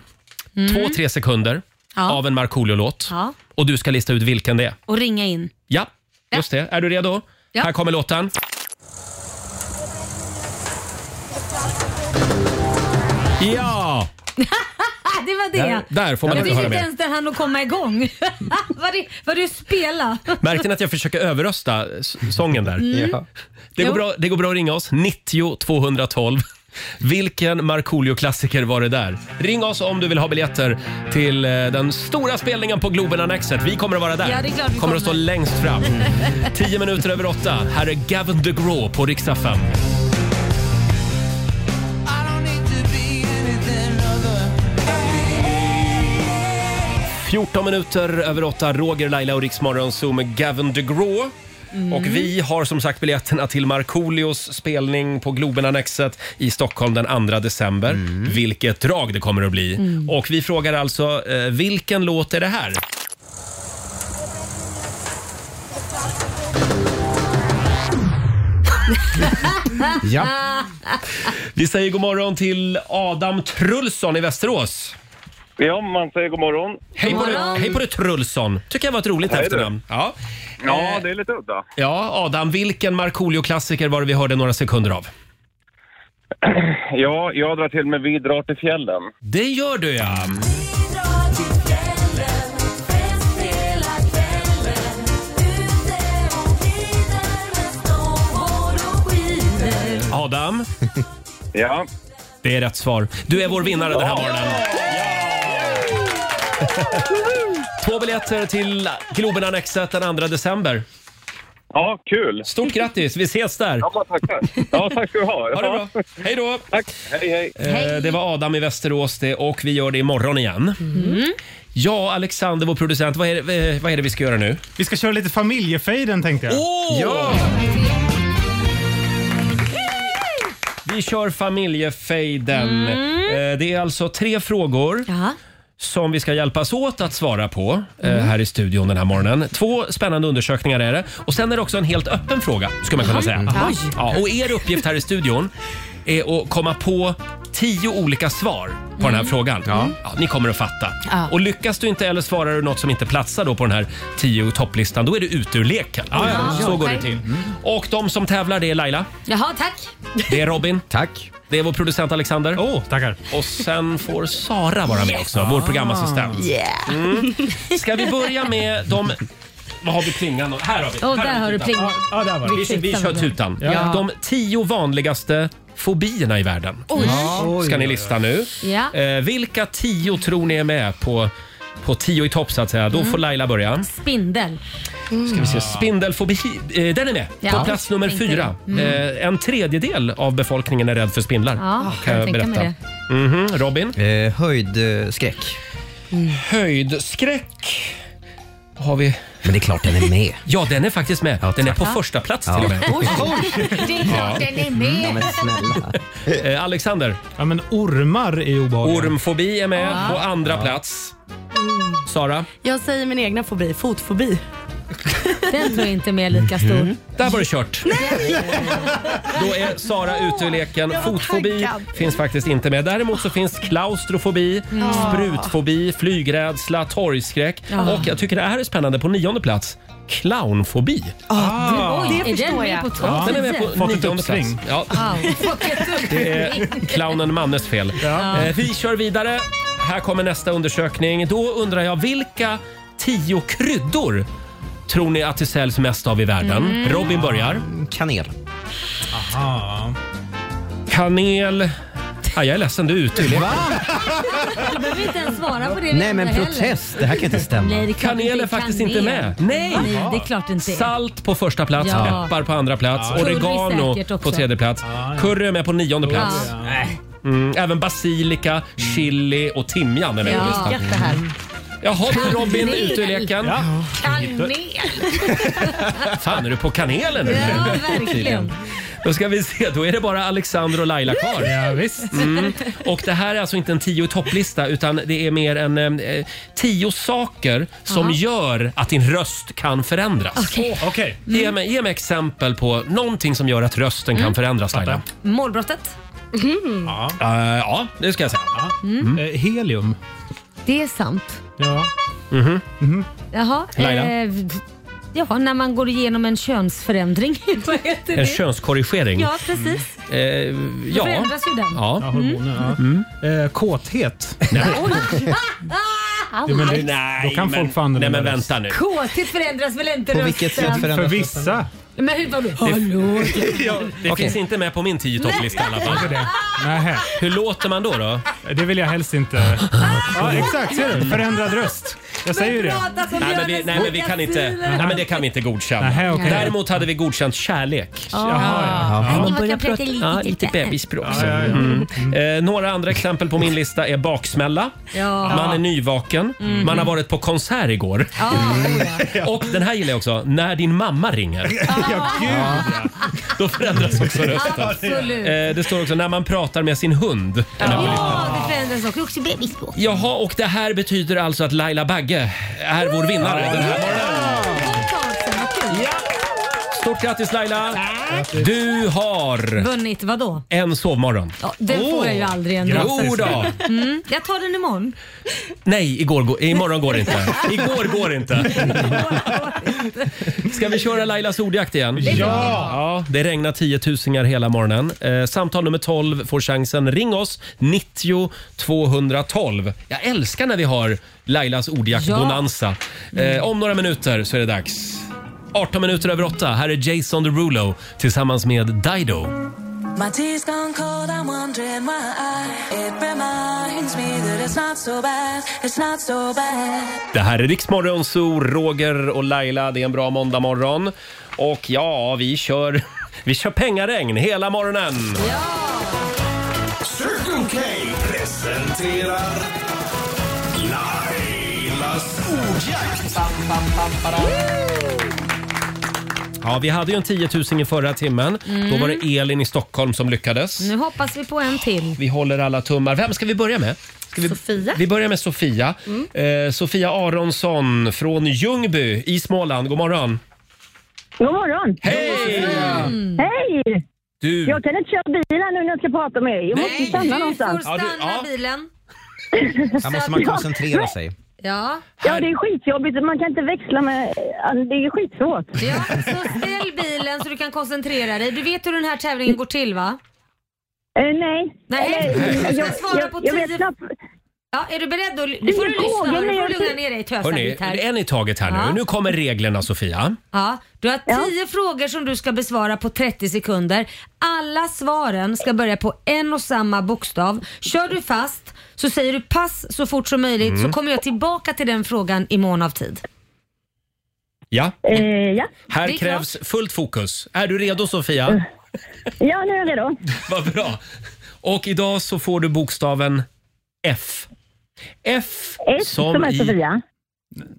Mm. två, tre sekunder Ja. av en Markoolio-låt. Ja. Och du ska lista ut vilken det är. Och ringa in. Ja, just det. Är du redo? Ja. Här kommer låten. Ja! [LAUGHS] det var det. Där- där får man jag inte fick höra inte mer. ens det här att komma igång. [LAUGHS] vad, det, vad det spela. Märkte ni att jag försöker överrösta s- sången där? Mm. Ja. Det, går Jo. bra, det går bra att ringa oss. 90 212. Vilken Markoolio-klassiker var det där? Ring oss om du vill ha biljetter till eh, den stora spelningen på Globen Annexet. Vi kommer att vara där. Ja, det är klart vi kommer att stå kommer. längst [LAUGHS] fram. 10 minuter över åtta. Här är Gavin DeGraw på riksdag to 5. be anything other. 14 minuter över åtta. Roger, Laila och Riksmorgon Zoom med Gavin DeGraw. Mm. Och vi har som sagt biljetterna till Markoolios spelning på Globen Annexet i Stockholm den 2 december. Mm. Vilket drag det kommer att bli. Mm. Och vi frågar alltså, eh, vilken låt är [LAUGHS] det här? [LAUGHS] Ja. Vi säger god morgon till Adam Trulsson i Västerås. Ja, man säger god morgon. Hej på, dig, hej på dig Trulsson. Tycker jag var ett roligt Hej du. efternamn. Ja. Ja, Eh, det är lite udda. ja, Adam, vilken Markoolio-klassiker var det vi hörde några sekunder av? Ja, jag drar till med Vi drar till fjällen. Det gör du ja. Adam. [LAUGHS] Ja. Det är rätt svar. Du är vår vinnare den [LAUGHS] här morgonen. Två biljetter till Globen Annexet den 2 december. Ja, kul. Stort grattis, vi ses där. Ja, men tackar. Ja, tack ska du ha. Ha det bra. Hej då. Tack. Hej, hej. Eh, Det var Adam i Västerås det och vi gör det imorgon igen. Ja, Alexander, vår producent, vad är, det, eh, vad är det vi ska göra nu? Vi ska köra lite familjefejden tänkte jag. Åh! Vi kör familjefejden. Eh, Det är alltså tre frågor som vi ska hjälpas åt att svara på eh, här i studion den här morgonen. Två spännande undersökningar är det. Och sen är det också en helt öppen fråga, skulle man kunna Jaha. säga. Mm. Oj. Ja, och er uppgift här i studion är att komma på tio olika svar på den här frågan. Ja. ni kommer att fatta. Ja. Och lyckas du inte eller svarar du något som inte platsar då på den här tio i topplistan, då är du ute ur leken. Ja, ja, Ja. så går Okej. det till. Och de som tävlar, det är Laila. Jaha, tack. Det är Robin. Tack. Det är vår producent Alexander. Oh, tackar. Och sen får Sara vara med Yes. också, vår programassistent. Ah, Yeah. Mm. Ska vi börja med de... Vad har vi plingan? Här har vi. Åh, där har du tutan. plingan. Ja, där var det. Vi Vi, vi tittar kör på det. tutan. Ja. De tio vanligaste fobierna i världen Oj. Ja. ska ni lista nu. Ja. Eh, vilka tio tror ni är med på, på tio i topp så att säga? Då Mm. får Laila börja. Spindel. Mm. Ska vi se. Spindelfobi, eh, den är med. Ja, På plats nummer tänkte fyra. jag. Mm. Eh, en tredjedel av befolkningen är rädd för spindlar. Ja, kan jag kan tänka mig berätta. Mhm, Robin? höjdskräck. Mm. Höjdskräck har vi. Men det är klart den är med. Ja, den är faktiskt med. den är på Ja. första plats Ja. till och med. Oj, det är klart Ja. den är med. [LAUGHS] Eh, Alexander? Ja, men ormar är obehagliga. Ormfobi är med Ja. på andra Ja. plats. Sara? Jag säger min egna fobi, fotfobi. Den tror jag inte är med lika stor. [LAUGHS] Där var det kört. Då är Sara ute ur leken. Fotfobi finns faktiskt inte med. Däremot så finns klaustrofobi, Ah. Ja. sprutfobi, flygrädsla, torgskräck Ja. och jag tycker det här är spännande på nionde plats. Clownfobi. Ah, det, oj, är den förstår med jag. på topp Ja, den är med tio? på nionde plats. Ja, Wow, fuck it up. det är clownen Mannes fel. Ja. Eh, Vi kör vidare. Här kommer nästa undersökning. Då undrar jag vilka tio kryddor tror ni att det säljs mest av i världen? Mm. Robin börjar. Kanel. Aha. Kanel. Ah, jag är ledsen, du är ute i leken. Du behöver inte ens svara på det. vi Nej, men undrar protest, heller. det här kan inte stämma. Nej, det klart Kanel är inte faktiskt inte med. Nej. Nej, det är klart det inte är. Salt på första plats, Ja. peppar på andra plats, Ja. Curry oregano säkert också. på tredje plats. Curry är med på nionde plats. Ja. Mm. Mm, även basilika, chili och timjan är med på Ja, listan. jättehär. Jaha, nu är Robin Kanel. ute i leken. Kanel! Fan, är du på kanelen [LAUGHS] nu? Ja, verkligen. Då ska vi se, då är det bara Alexander och Laila kvar. Ja, visst. Mm. Och det här är alltså inte en tio i topplista utan det är mer en eh, tio saker som Aha. gör att din röst kan förändras. Okej. Okay. Mm. Ge, mig, ge mig exempel på någonting som gör att rösten kan förändras Laila. Målbrottet. Ja. Eh, ja, det ska jag säga. Mm. helium. Det är sant. Ja. Mm-hmm. Mm-hmm. Jaha. Laila? Eh, jaha, när man går igenom en könsförändring. [LAUGHS] Vad heter En det? könskorrigering. Ja, precis. Eh, Då ja. förändras ju den. Ja. Mm. hormoner, ja. Eh, kåthet. [LAUGHS] Oj. Ah, Jo, men det- Nej, då kan men- folk få använda nej, men deras- vänta nu. Kåthet förändras väl inte rösten? För vissa. Men hur var det? [LAUGHS] Hallå? ja, det Okej. finns inte med på min tio i topplista i alla fall. Nähä. Hur låter man då? då? Det vill jag helst inte. Ja, exakt. Ser du? Förändrad röst. Jag säger ju det. Nej men, vi, nej, men vi kan inte, nej, men det kan vi inte godkänna. Nähä, okej. Däremot hade vi godkänt kärlek. Ah. Jaha, ja. Nej, man börjar prata lite ja, lite. lite bebisspråk. Ja, ja, ja. Mm. Eh, några andra exempel på min lista är baksmälla, Ja. man är nyvaken, Mhm. man har varit på konsert igår. [LAUGHS] Och den här gillar jag också, när din mamma [LAUGHS] ringer. Ja, gud. Då förändras också rösten. Absolut. Eh, det står också när man pratar med sin hund. Den här Ja, det förändras också. Det är också bebisspråk. Jaha, och det här betyder alltså att Laila Bagge är vår vinnare den här morgonen. Ja. Stort grattis Laila! Du har Vunnit vadå? en sovmorgon. Ja, den får jag ju aldrig ändå. Jo då. Mm, jag tar den imorgon. Nej, igår, går- imorgon går det inte. Igår går det inte. Ska vi köra Lailas ordjakt igen? Det är bra. ja! Det regnar tiotusingar hela morgonen. Eh, samtal nummer 12 får chansen. Ring oss, 90 212. Jag älskar när vi har Lailas ordjakt-bonanza. Eh, om några minuter så är det dags. 18 minuter över 8. Här är Jason Derulo tillsammans med Dido. My tea's gone cold, I'm wondering why. It reminds me that it's not so bad, it's not so bad. Det här är Riksmorgon Zoo, Roger och Laila. Det är en bra måndagmorgon. Och ja, vi kör, [LAUGHS] vi kör pengaregn hela morgonen. Circle K presenterar Lailas ordjakt. Ja, vi hade ju en 10 000 i förra timmen. Mm. Då var det Elin i Stockholm som lyckades. Nu hoppas vi på en till. Vi håller alla tummar. Vem ska vi börja med? Ska vi, Sofia. Mm. Vi börjar med Sofia. Eh, Sofia Aronsson från Ljungby i Småland. God morgon! God morgon! Hej! Hej! Du. Jag kan inte köra bil här nu när jag ska prata med er. Jag måste stanna någonstans. får stanna bilen. Här måste man koncentrera sig. Ja. Ja, det är skitjobbigt. Man kan inte växla med... Det är skitsvårt. Ja, så ställ bilen så du kan koncentrera dig. Du vet hur den här tävlingen går till va? Eh, nej. Nej, Eller- du ska jag- svara jag- på jag vet tio... Ja, är du beredd då? Nu får du Ingen lyssna. fråga, Nu men får jag- du lugna ner dig Hörni, tösarbitt en här. i taget här Ja. nu. Nu kommer reglerna Sofia. Ja, du har tio frågor som du ska besvara på 30 sekunder. Alla svaren ska börja på en och samma bokstav. Kör du fast så säger du pass så fort som möjligt Mm. så kommer jag tillbaka till den frågan i mån av tid. Ja. Mm. Eh, ja. Det Här är krävs fullt fokus. Är du redo Sofia? Ja, nu är jag redo. [LAUGHS] Vad bra. Och idag så får du bokstaven F. F, F som, är Sofia.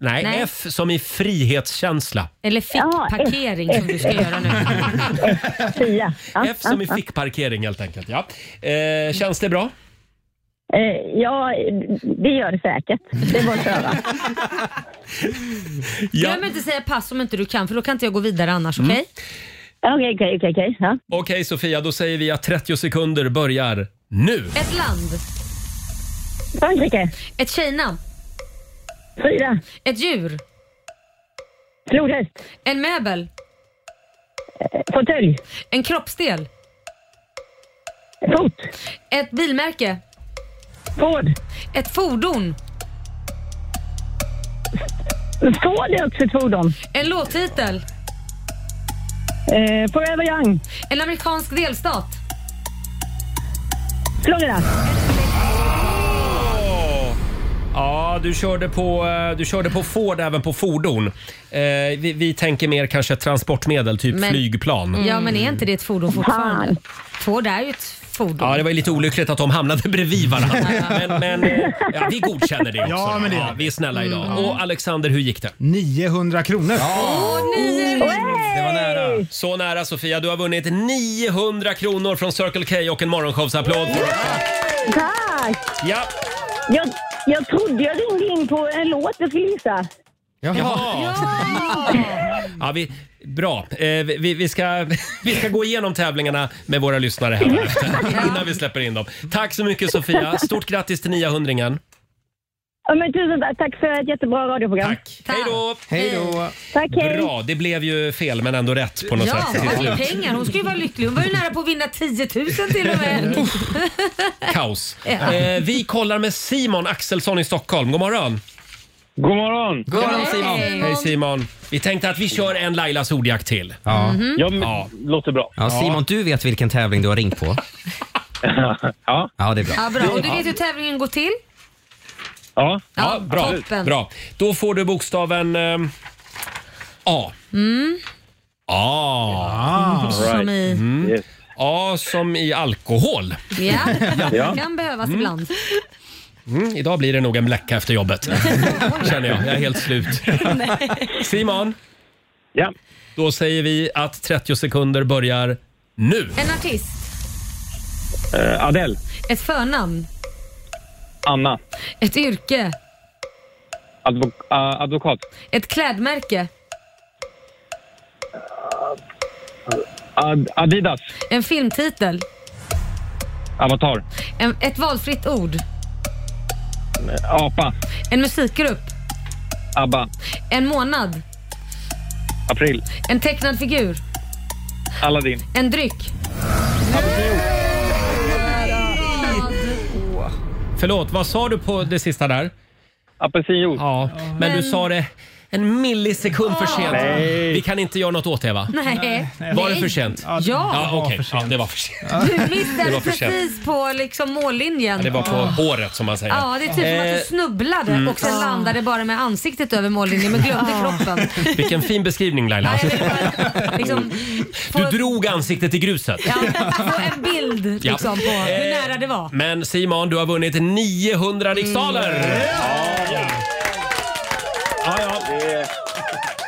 Nej, Nej. F som i frihetskänsla. Eller fickparkering som du ska göra nu. Sofia. Ja, F som i ja, fickparkering helt enkelt. Ja. Eh, känns det bra? ja. Eh, ja, det gör det säkert. Det är bara att köra. Glöm inte säga pass om inte du kan för då kan inte jag gå vidare annars, Mm. okej? Okej, okej, okej. ja. Okej Sofia, då säger vi att 30 sekunder börjar nu. Ett land. Frankrike. Ett tjejnamn. Frida. Ett djur. Flodhäst. En möbel. Eh, Fåtölj. En kroppsdel. Fot. Ett bilmärke. Ford. Ett fordon. Ford är också ett fordon. En låttitel. Eh, Forever Young. En amerikansk delstat. Florida. Ja, du körde på, eh, du körde på Ford även på fordon. Eh, vi, vi tänker mer kanske transportmedel, typ Men- flygplan. Mm. Ja, men är inte det ett fordon fortfarande? Ford är ju ett fordon. Ja, det var ju lite olyckligt att de hamnade bredvid [LAUGHS] varandra. Men, men eh, ja, vi godkänner det också. Ja, men det- vi är snälla idag. Mm. Och Alexander, hur gick det? 900 kronor. Det var nära. Så nära Sofia. Du har vunnit 900 kronor från Circle K och en morgonshowsapplåd. Tack! Ja. Jag, jag trodde jag ringde in på en låt jag skulle gissa. Jaha. Ja, vi, bra. Eh, vi, vi, ska, [LAUGHS] vi ska gå igenom tävlingarna med våra lyssnare här efter, innan vi släpper in dem. Tack så mycket Sofia. Stort grattis till 900-ringen. Ja, men tusen tack. Tack för ett jättebra radioprogram. Tack. Hej då! Hej då! Tack, hej. Bra, det blev ju fel men ändå rätt på något ja, sätt. till det är slut. pengar. Hon ska ju vara lycklig. Hon var ju nära på att vinna 10 000 till [LAUGHS] och med. Kaos. Ja. Eh, vi kollar med Simon Axelsson i Stockholm. God morgon! God morgon! God morgon, Simon. Hej Simon! Vi tänkte att vi kör en Lailas ordjakt till. Ja. Mhm. Ja, men, låter bra. Ja, Simon, du vet vilken tävling du har ringt på? ja. [LAUGHS] Ja, det är bra. Ja, bra. Och du vet hur tävlingen går till? Ja, Ja, bra. toppen. bra. Då får du bokstaven ehm, A. Mm. Ah. Mm, som i- Mm. A som i alkohol. [LAUGHS] Ja, [LAUGHS] Ja. det kan behövas ibland. Mm, idag blir det nog en bläcka efter [LAUGHS] jobbet. Känner jag. Jag är helt slut. Simon. Ja. Då säger vi att 30 sekunder börjar nu. En artist, Eh, Adele. ett förnamn, Anna. ett yrke, Advok eh, advokat. ett klädmärke, Ad Adidas. en filmtitel, Avatar. en, ett valfritt ord, Eh, Apa. en musikgrupp, Abba. en månad, April. en tecknad figur, Aladdin. en dryck. Förlåt, vad sa du på det sista där? Apelsinjuice. Ja, men du Men- Ah. sa det en millisekund för sent. Nej. Vi kan inte göra något åt det va? Nej. Var det för sent? Ja. ja okej. Ja, det var för sent. Du Det var missade för sent. precis på liksom mållinjen. Ja, det var på året som man säger. Ja, det är typ som att du snubblade mm. och sen landade bara med ansiktet över mållinjen men glömde kroppen. Eh, Vilken fin beskrivning Laila. [LAUGHS] Liksom, Du drog ansiktet i gruset. ja, få en bild Ja. liksom, på hur Eh, nära det var. Men Simon, du har vunnit 900 riksdaler. Mm. Ja, ja.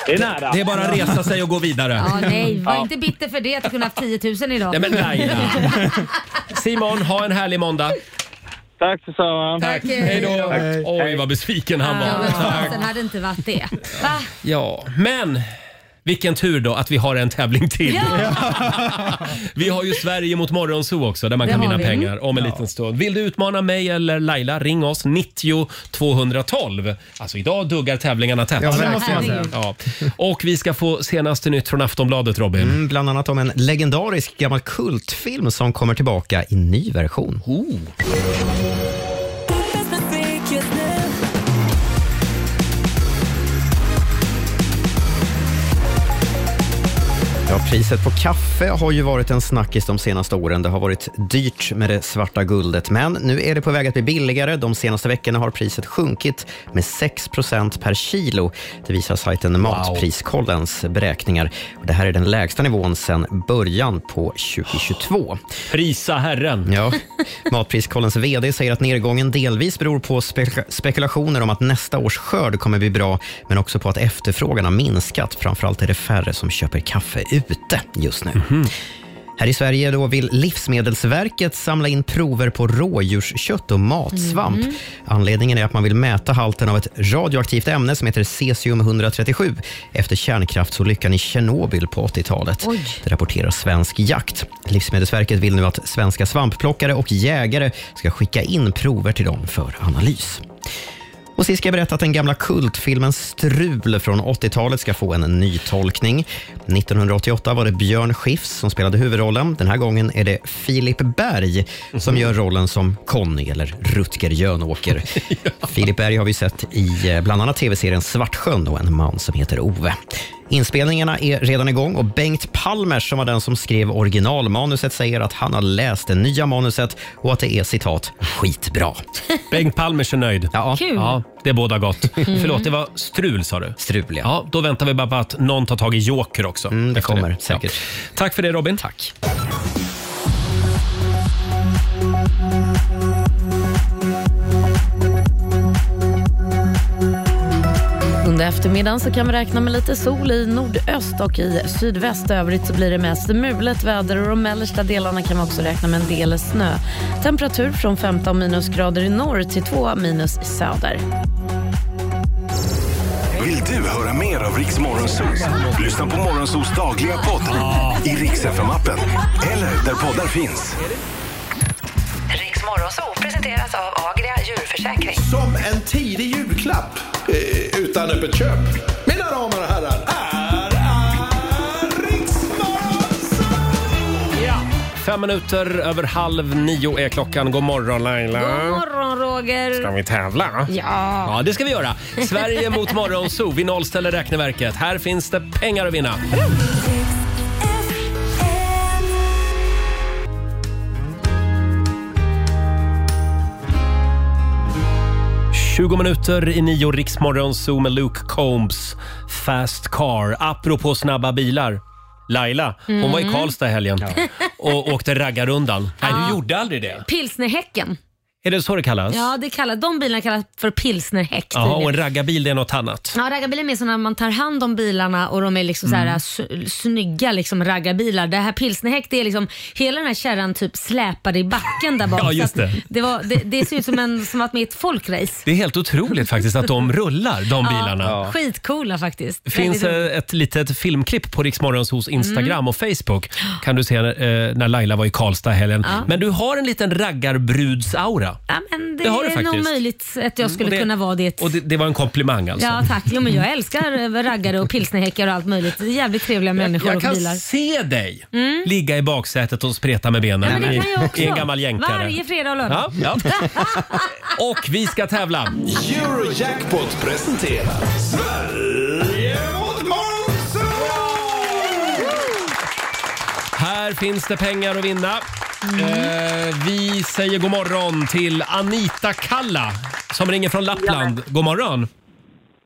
Det är nära. Det är bara att resa sig och gå vidare. Ja, nej, var inte bitter för det att du kunde haft 10 000 idag. Nej, men Laila. [LAUGHS] Simon, ha en härlig måndag. Tack detsamma. Tack. Tack. Hej då. Hej. Oj, vad besviken han Ja, var. men fasen hade inte varit det. Va? Ja, men Vilken tur då att vi har en tävling till. Ja. Vi har ju Sverige mot Morgonzoo också där man Det kan har vinna vi. pengar om en liten stund. Vill du utmana mig eller Laila, ring oss 90 212. Alltså idag duggar tävlingarna tätt. Ja, det måste man säga. Ja. Och vi ska få senaste nytt från Aftonbladet, Robin. Mm, bland annat om en legendarisk gammal kultfilm som kommer tillbaka i ny version. Oh. Ja, priset på kaffe har ju varit en snackis de senaste åren. Det har varit dyrt med det svarta guldet, men nu är det på väg att bli billigare. De senaste veckorna har priset sjunkit med 6 per kilo. Det visar sajten Matpriskollens beräkningar. Och Det här är den lägsta nivån sedan början på 2022. Prisa Herren! Ja. Matpriskollens VD säger att nedgången delvis beror på spek- spekulationer om att nästa års skörd kommer bli bra, men också på att efterfrågan har minskat. Framförallt är det färre som köper kaffe ute just nu. Mhm. Här i Sverige då vill Livsmedelsverket samla in prover på rådjurskött och matsvamp. Mhm. Anledningen är att man vill mäta halten av ett radioaktivt ämne som heter cesium-137 efter kärnkraftsolyckan i Tjernobyl på 80-talet. Det rapporterar Svensk Jakt. Livsmedelsverket vill nu att svenska svampplockare och jägare ska skicka in prover till dem för analys. Och sist ska jag berätta att den gamla kultfilmen Strul från 80-talet ska få en ny tolkning. 1988 var det Björn Skifs som spelade huvudrollen. Den här gången är det Filip Berg som gör rollen som Conny, eller Rutger Jönåker. Filip Berg har vi sett i eh, bland annat tv-serien Svartsjön och en man som heter Ove. Inspelningarna är redan igång och Bengt Palmers som var den som skrev originalmanuset säger att han har läst det nya manuset och att det är citat skitbra. [LAUGHS] Bengt Palmers är nöjd. Ja. Kul. Ja, det båda gott. Mm. Förlåt, det var strul sa du? Strul, ja. Mm, Då väntar vi bara på att någon tar tag i joker också. det efter kommer, säkert. Tack för det Robin. Tack. Under eftermiddagen så kan vi räkna med lite sol i nordöst och i sydväst. Övrigt så blir det mest mulet väder och de mellersta delarna kan vi också räkna med en del snö. Temperatur från 15 minusgrader i norr till 2 minus i söder. Vill du höra mer av Riks Morgonsos? Lyssna på Morgonsos dagliga podd i Riks FM-appen eller där poddar finns. Riks Morgonzoo presenteras av Agria djurförsäkring. Som en tidig julklapp eh, utan öppet köp. Mina damer och herrar, Fem minuter över halv nio är klockan. God morgon Laila. God morgon Roger. Ska vi tävla? Ja. Ja, det ska vi göra. Sverige mot Morgonzoo. Vi nollställer räkneverket. Här finns det pengar att vinna. ...20 minuter i nio Riksmorgonzoo med Luke Combs Fast Car. Apropå snabba bilar. Laila, hon var i Mm. Karlstad i helgen och åkte raggarundan. Nej, Ja. du gjorde aldrig det. Pilsnerhäcken. Är det så det kallas? Ja, det kallas, de bilarna kallas för pilsnerhäck. Jaha, och tydligen. en raggarbil det är något annat. Ja, raggarbilar är mer sådana man tar hand om bilarna och de är liksom så här, Mm. s- snygga liksom raggarbilar. Det här pilsnerhäck, det är liksom hela den här kärran typ släpade i backen där bak. Ja, just Så att det. Det, var, det, det ser ut som en som varit med i ett folkrace. Det är helt otroligt faktiskt att de rullar, de bilarna. [LAUGHS] Ja, skitcoola faktiskt. Det finns Väldigt- eh, ett litet filmklipp på Riksmorgons hos Mm. Instagram och Facebook. kan du se eh, när Laila var i Karlstad i helgen. Ja. Men du har en liten raggarbrudsaura. Ja, men liksom- det, det har du är nog faktiskt. Mm. möjligt att jag skulle Och det- kunna vara det. Och det, det var en komplimang alltså. Ja tack, jo, men jag älskar eh, raggare och pilsnerhäckar och allt möjligt. Det är jävligt trevliga människor jag och kan bilar. se dig Mm. ligga i baksätet och spreta med benen Ja, men det i, kan jag också. i en gammal jänkare. Varje fredag och lördag. [LAUGHS] Ja, ja. och vi ska tävla. Eurojackpot presenterar Sverige mot Morgonzoo! Här finns det pengar att vinna. Eh, vi säger god morgon till Anita Kalla som ringer från Lappland. God morgon!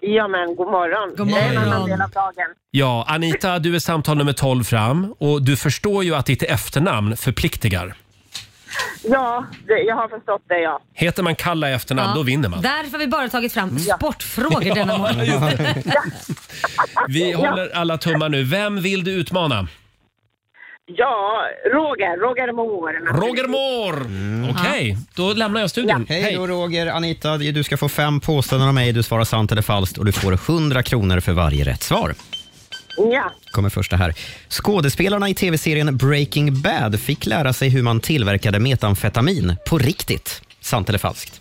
Ja, men god morgon. God morgon. Det är en annan del av dagen. Ja, Anita, du är samtal nummer 12 fram och du förstår ju att ditt efternamn förpliktigar. Ja, det, jag har förstått det, ja. Heter man Kalla i efternamn, då vinner man. Därför har vi bara tagit fram sportfrågor denna morgon. just det. Vi håller alla tummar nu. Vem vill du utmana? Ja, Roger. Roger Moore. Roger Moore! Okej, då lämnar jag studion. Mm. Hej då Roger, Anita. Du ska få fem påståenden av mig. Du svarar sant eller falskt och du får 100 kronor för varje rätt svar. Ja. kommer första här. Skådespelarna i tv-serien Breaking Bad fick lära sig hur man tillverkade metamfetamin på riktigt. Sant eller falskt?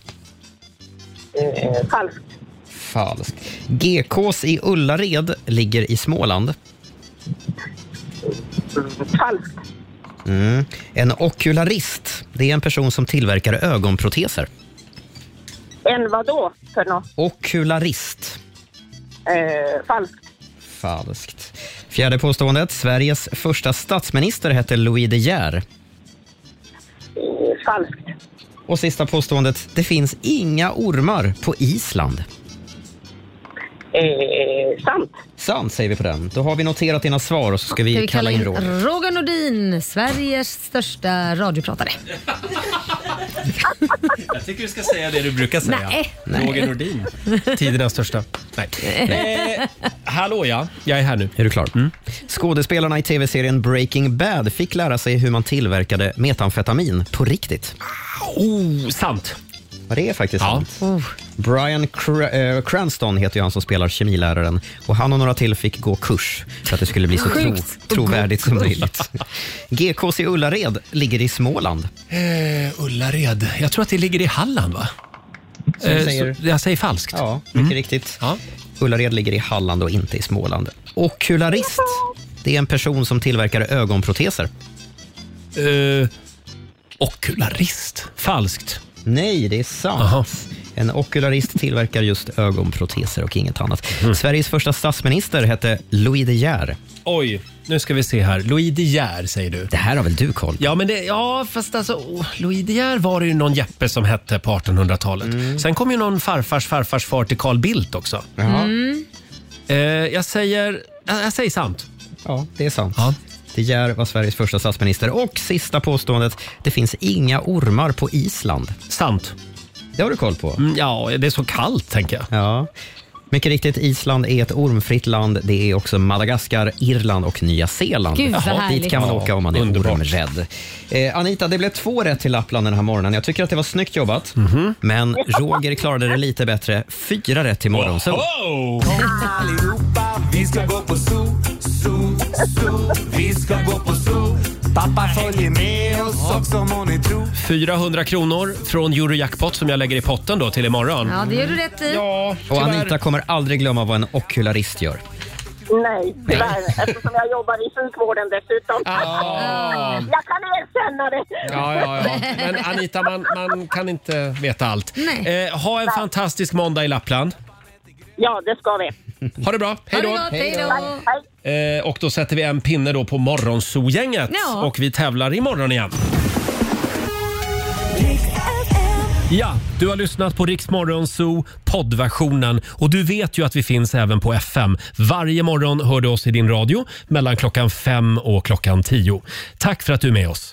Eh, falskt. Falskt. GKs i Ullared ligger i Småland. Falskt. Mm. En okularist, det är en person som tillverkar ögonproteser. En vadå för något? Okularist. Eh, falskt. Falskt. Fjärde påståendet. Sveriges första statsminister hette Louis De Geer. Eh, falskt. Och sista påståendet. Det finns inga ormar på Island. Eh, sant. Sant säger vi på den. Då har vi noterat dina svar och så ska vi, Ska vi kalla in Roger. Roger Nordin, Sveriges största radiopratare. [LAUGHS] Jag tycker du ska säga det du brukar säga. Nej. Roger Nordin. Tidernas största. Nej. Eh, hallå ja, jag är här nu. Mm. Är du klar? Skådespelarna i tv-serien Breaking Bad fick lära sig hur man tillverkade metamfetamin på riktigt. Oh, sant. Oh. Ja, det är faktiskt sant. Brian Cra- eh, Cranston heter ju han som spelar kemiläraren och han och några till fick gå kurs för att det skulle bli så tro- Sjukt att gå trovärdigt som kurs. möjligt. GKs i Ullared ligger i Småland. Eh, Ullared. Jag tror att det ligger i Halland, va? Som Eh, säger- så- jag säger falskt. Mm. Ja, mycket riktigt. Ullared ligger i Halland och inte i Småland. Okularist, det är en person som tillverkar ögonproteser. Eh, okularist. Falskt. Nej, det är sant. En okularist tillverkar just ögonproteser och inget annat. Mhm. Sveriges första statsminister hette Louis De Geer. Oj, nu ska vi se här. Louis De Geer säger du. Det här har väl du koll Ja, men det, ja, fast alltså, oh, Louis De Geer var det ju någon Jeppe som hette på 1800-talet. Sen kom ju någon farfars farfars far till Carl Bildt också. Mm. Eh, jag, säger, jag, jag säger sant. Ja, det är sant. De Geer var Sveriges första statsminister. Och sista påståendet, det finns inga ormar på Island. Sant. Mm, Det har du koll på? ja, det är så kallt tänker jag. Ja. Mycket riktigt, Island är ett ormfritt land. Det är också Madagaskar, Irland och Nya Zeeland. Gud, vad härligt. dit kan man Ja, åka om man är ormrädd. Eh, Anita, det blev två rätt till Lappland den här morgonen. Jag tycker att det var snyggt jobbat. Mhm. Men Roger klarade det lite bättre. Fyra rätt till morgon. Så. Allihopa, vi ska gå på zoo, zoo, zoo. Vi ska gå på zoo. Pappa följer med oss också må ni tro. 400 kronor från Eurojackpot som jag lägger i potten då till imorgon. Ja, det gör du rätt i. Ja, Och Anita kommer aldrig glömma vad en okularist gör. Nej, tyvärr. Eftersom jag jobbar i sjukvården dessutom. Jag kan erkänna det. Ja, ja, ja. Men Anita, man, man kan inte veta allt. Nej. Eh, ha en Nej. fantastisk måndag i Lappland. Ja, det ska vi. Ha det bra. Hej då! Eh, och då sätter vi en pinne då på Morgonzoo-gänget Ja. och vi tävlar imorgon igen. Ja, du har lyssnat på Rix Morgonzoo poddversionen och du vet ju att vi finns även på FM. Varje morgon hör du oss i din radio mellan klockan fem och klockan tio. Tack för att du är med oss.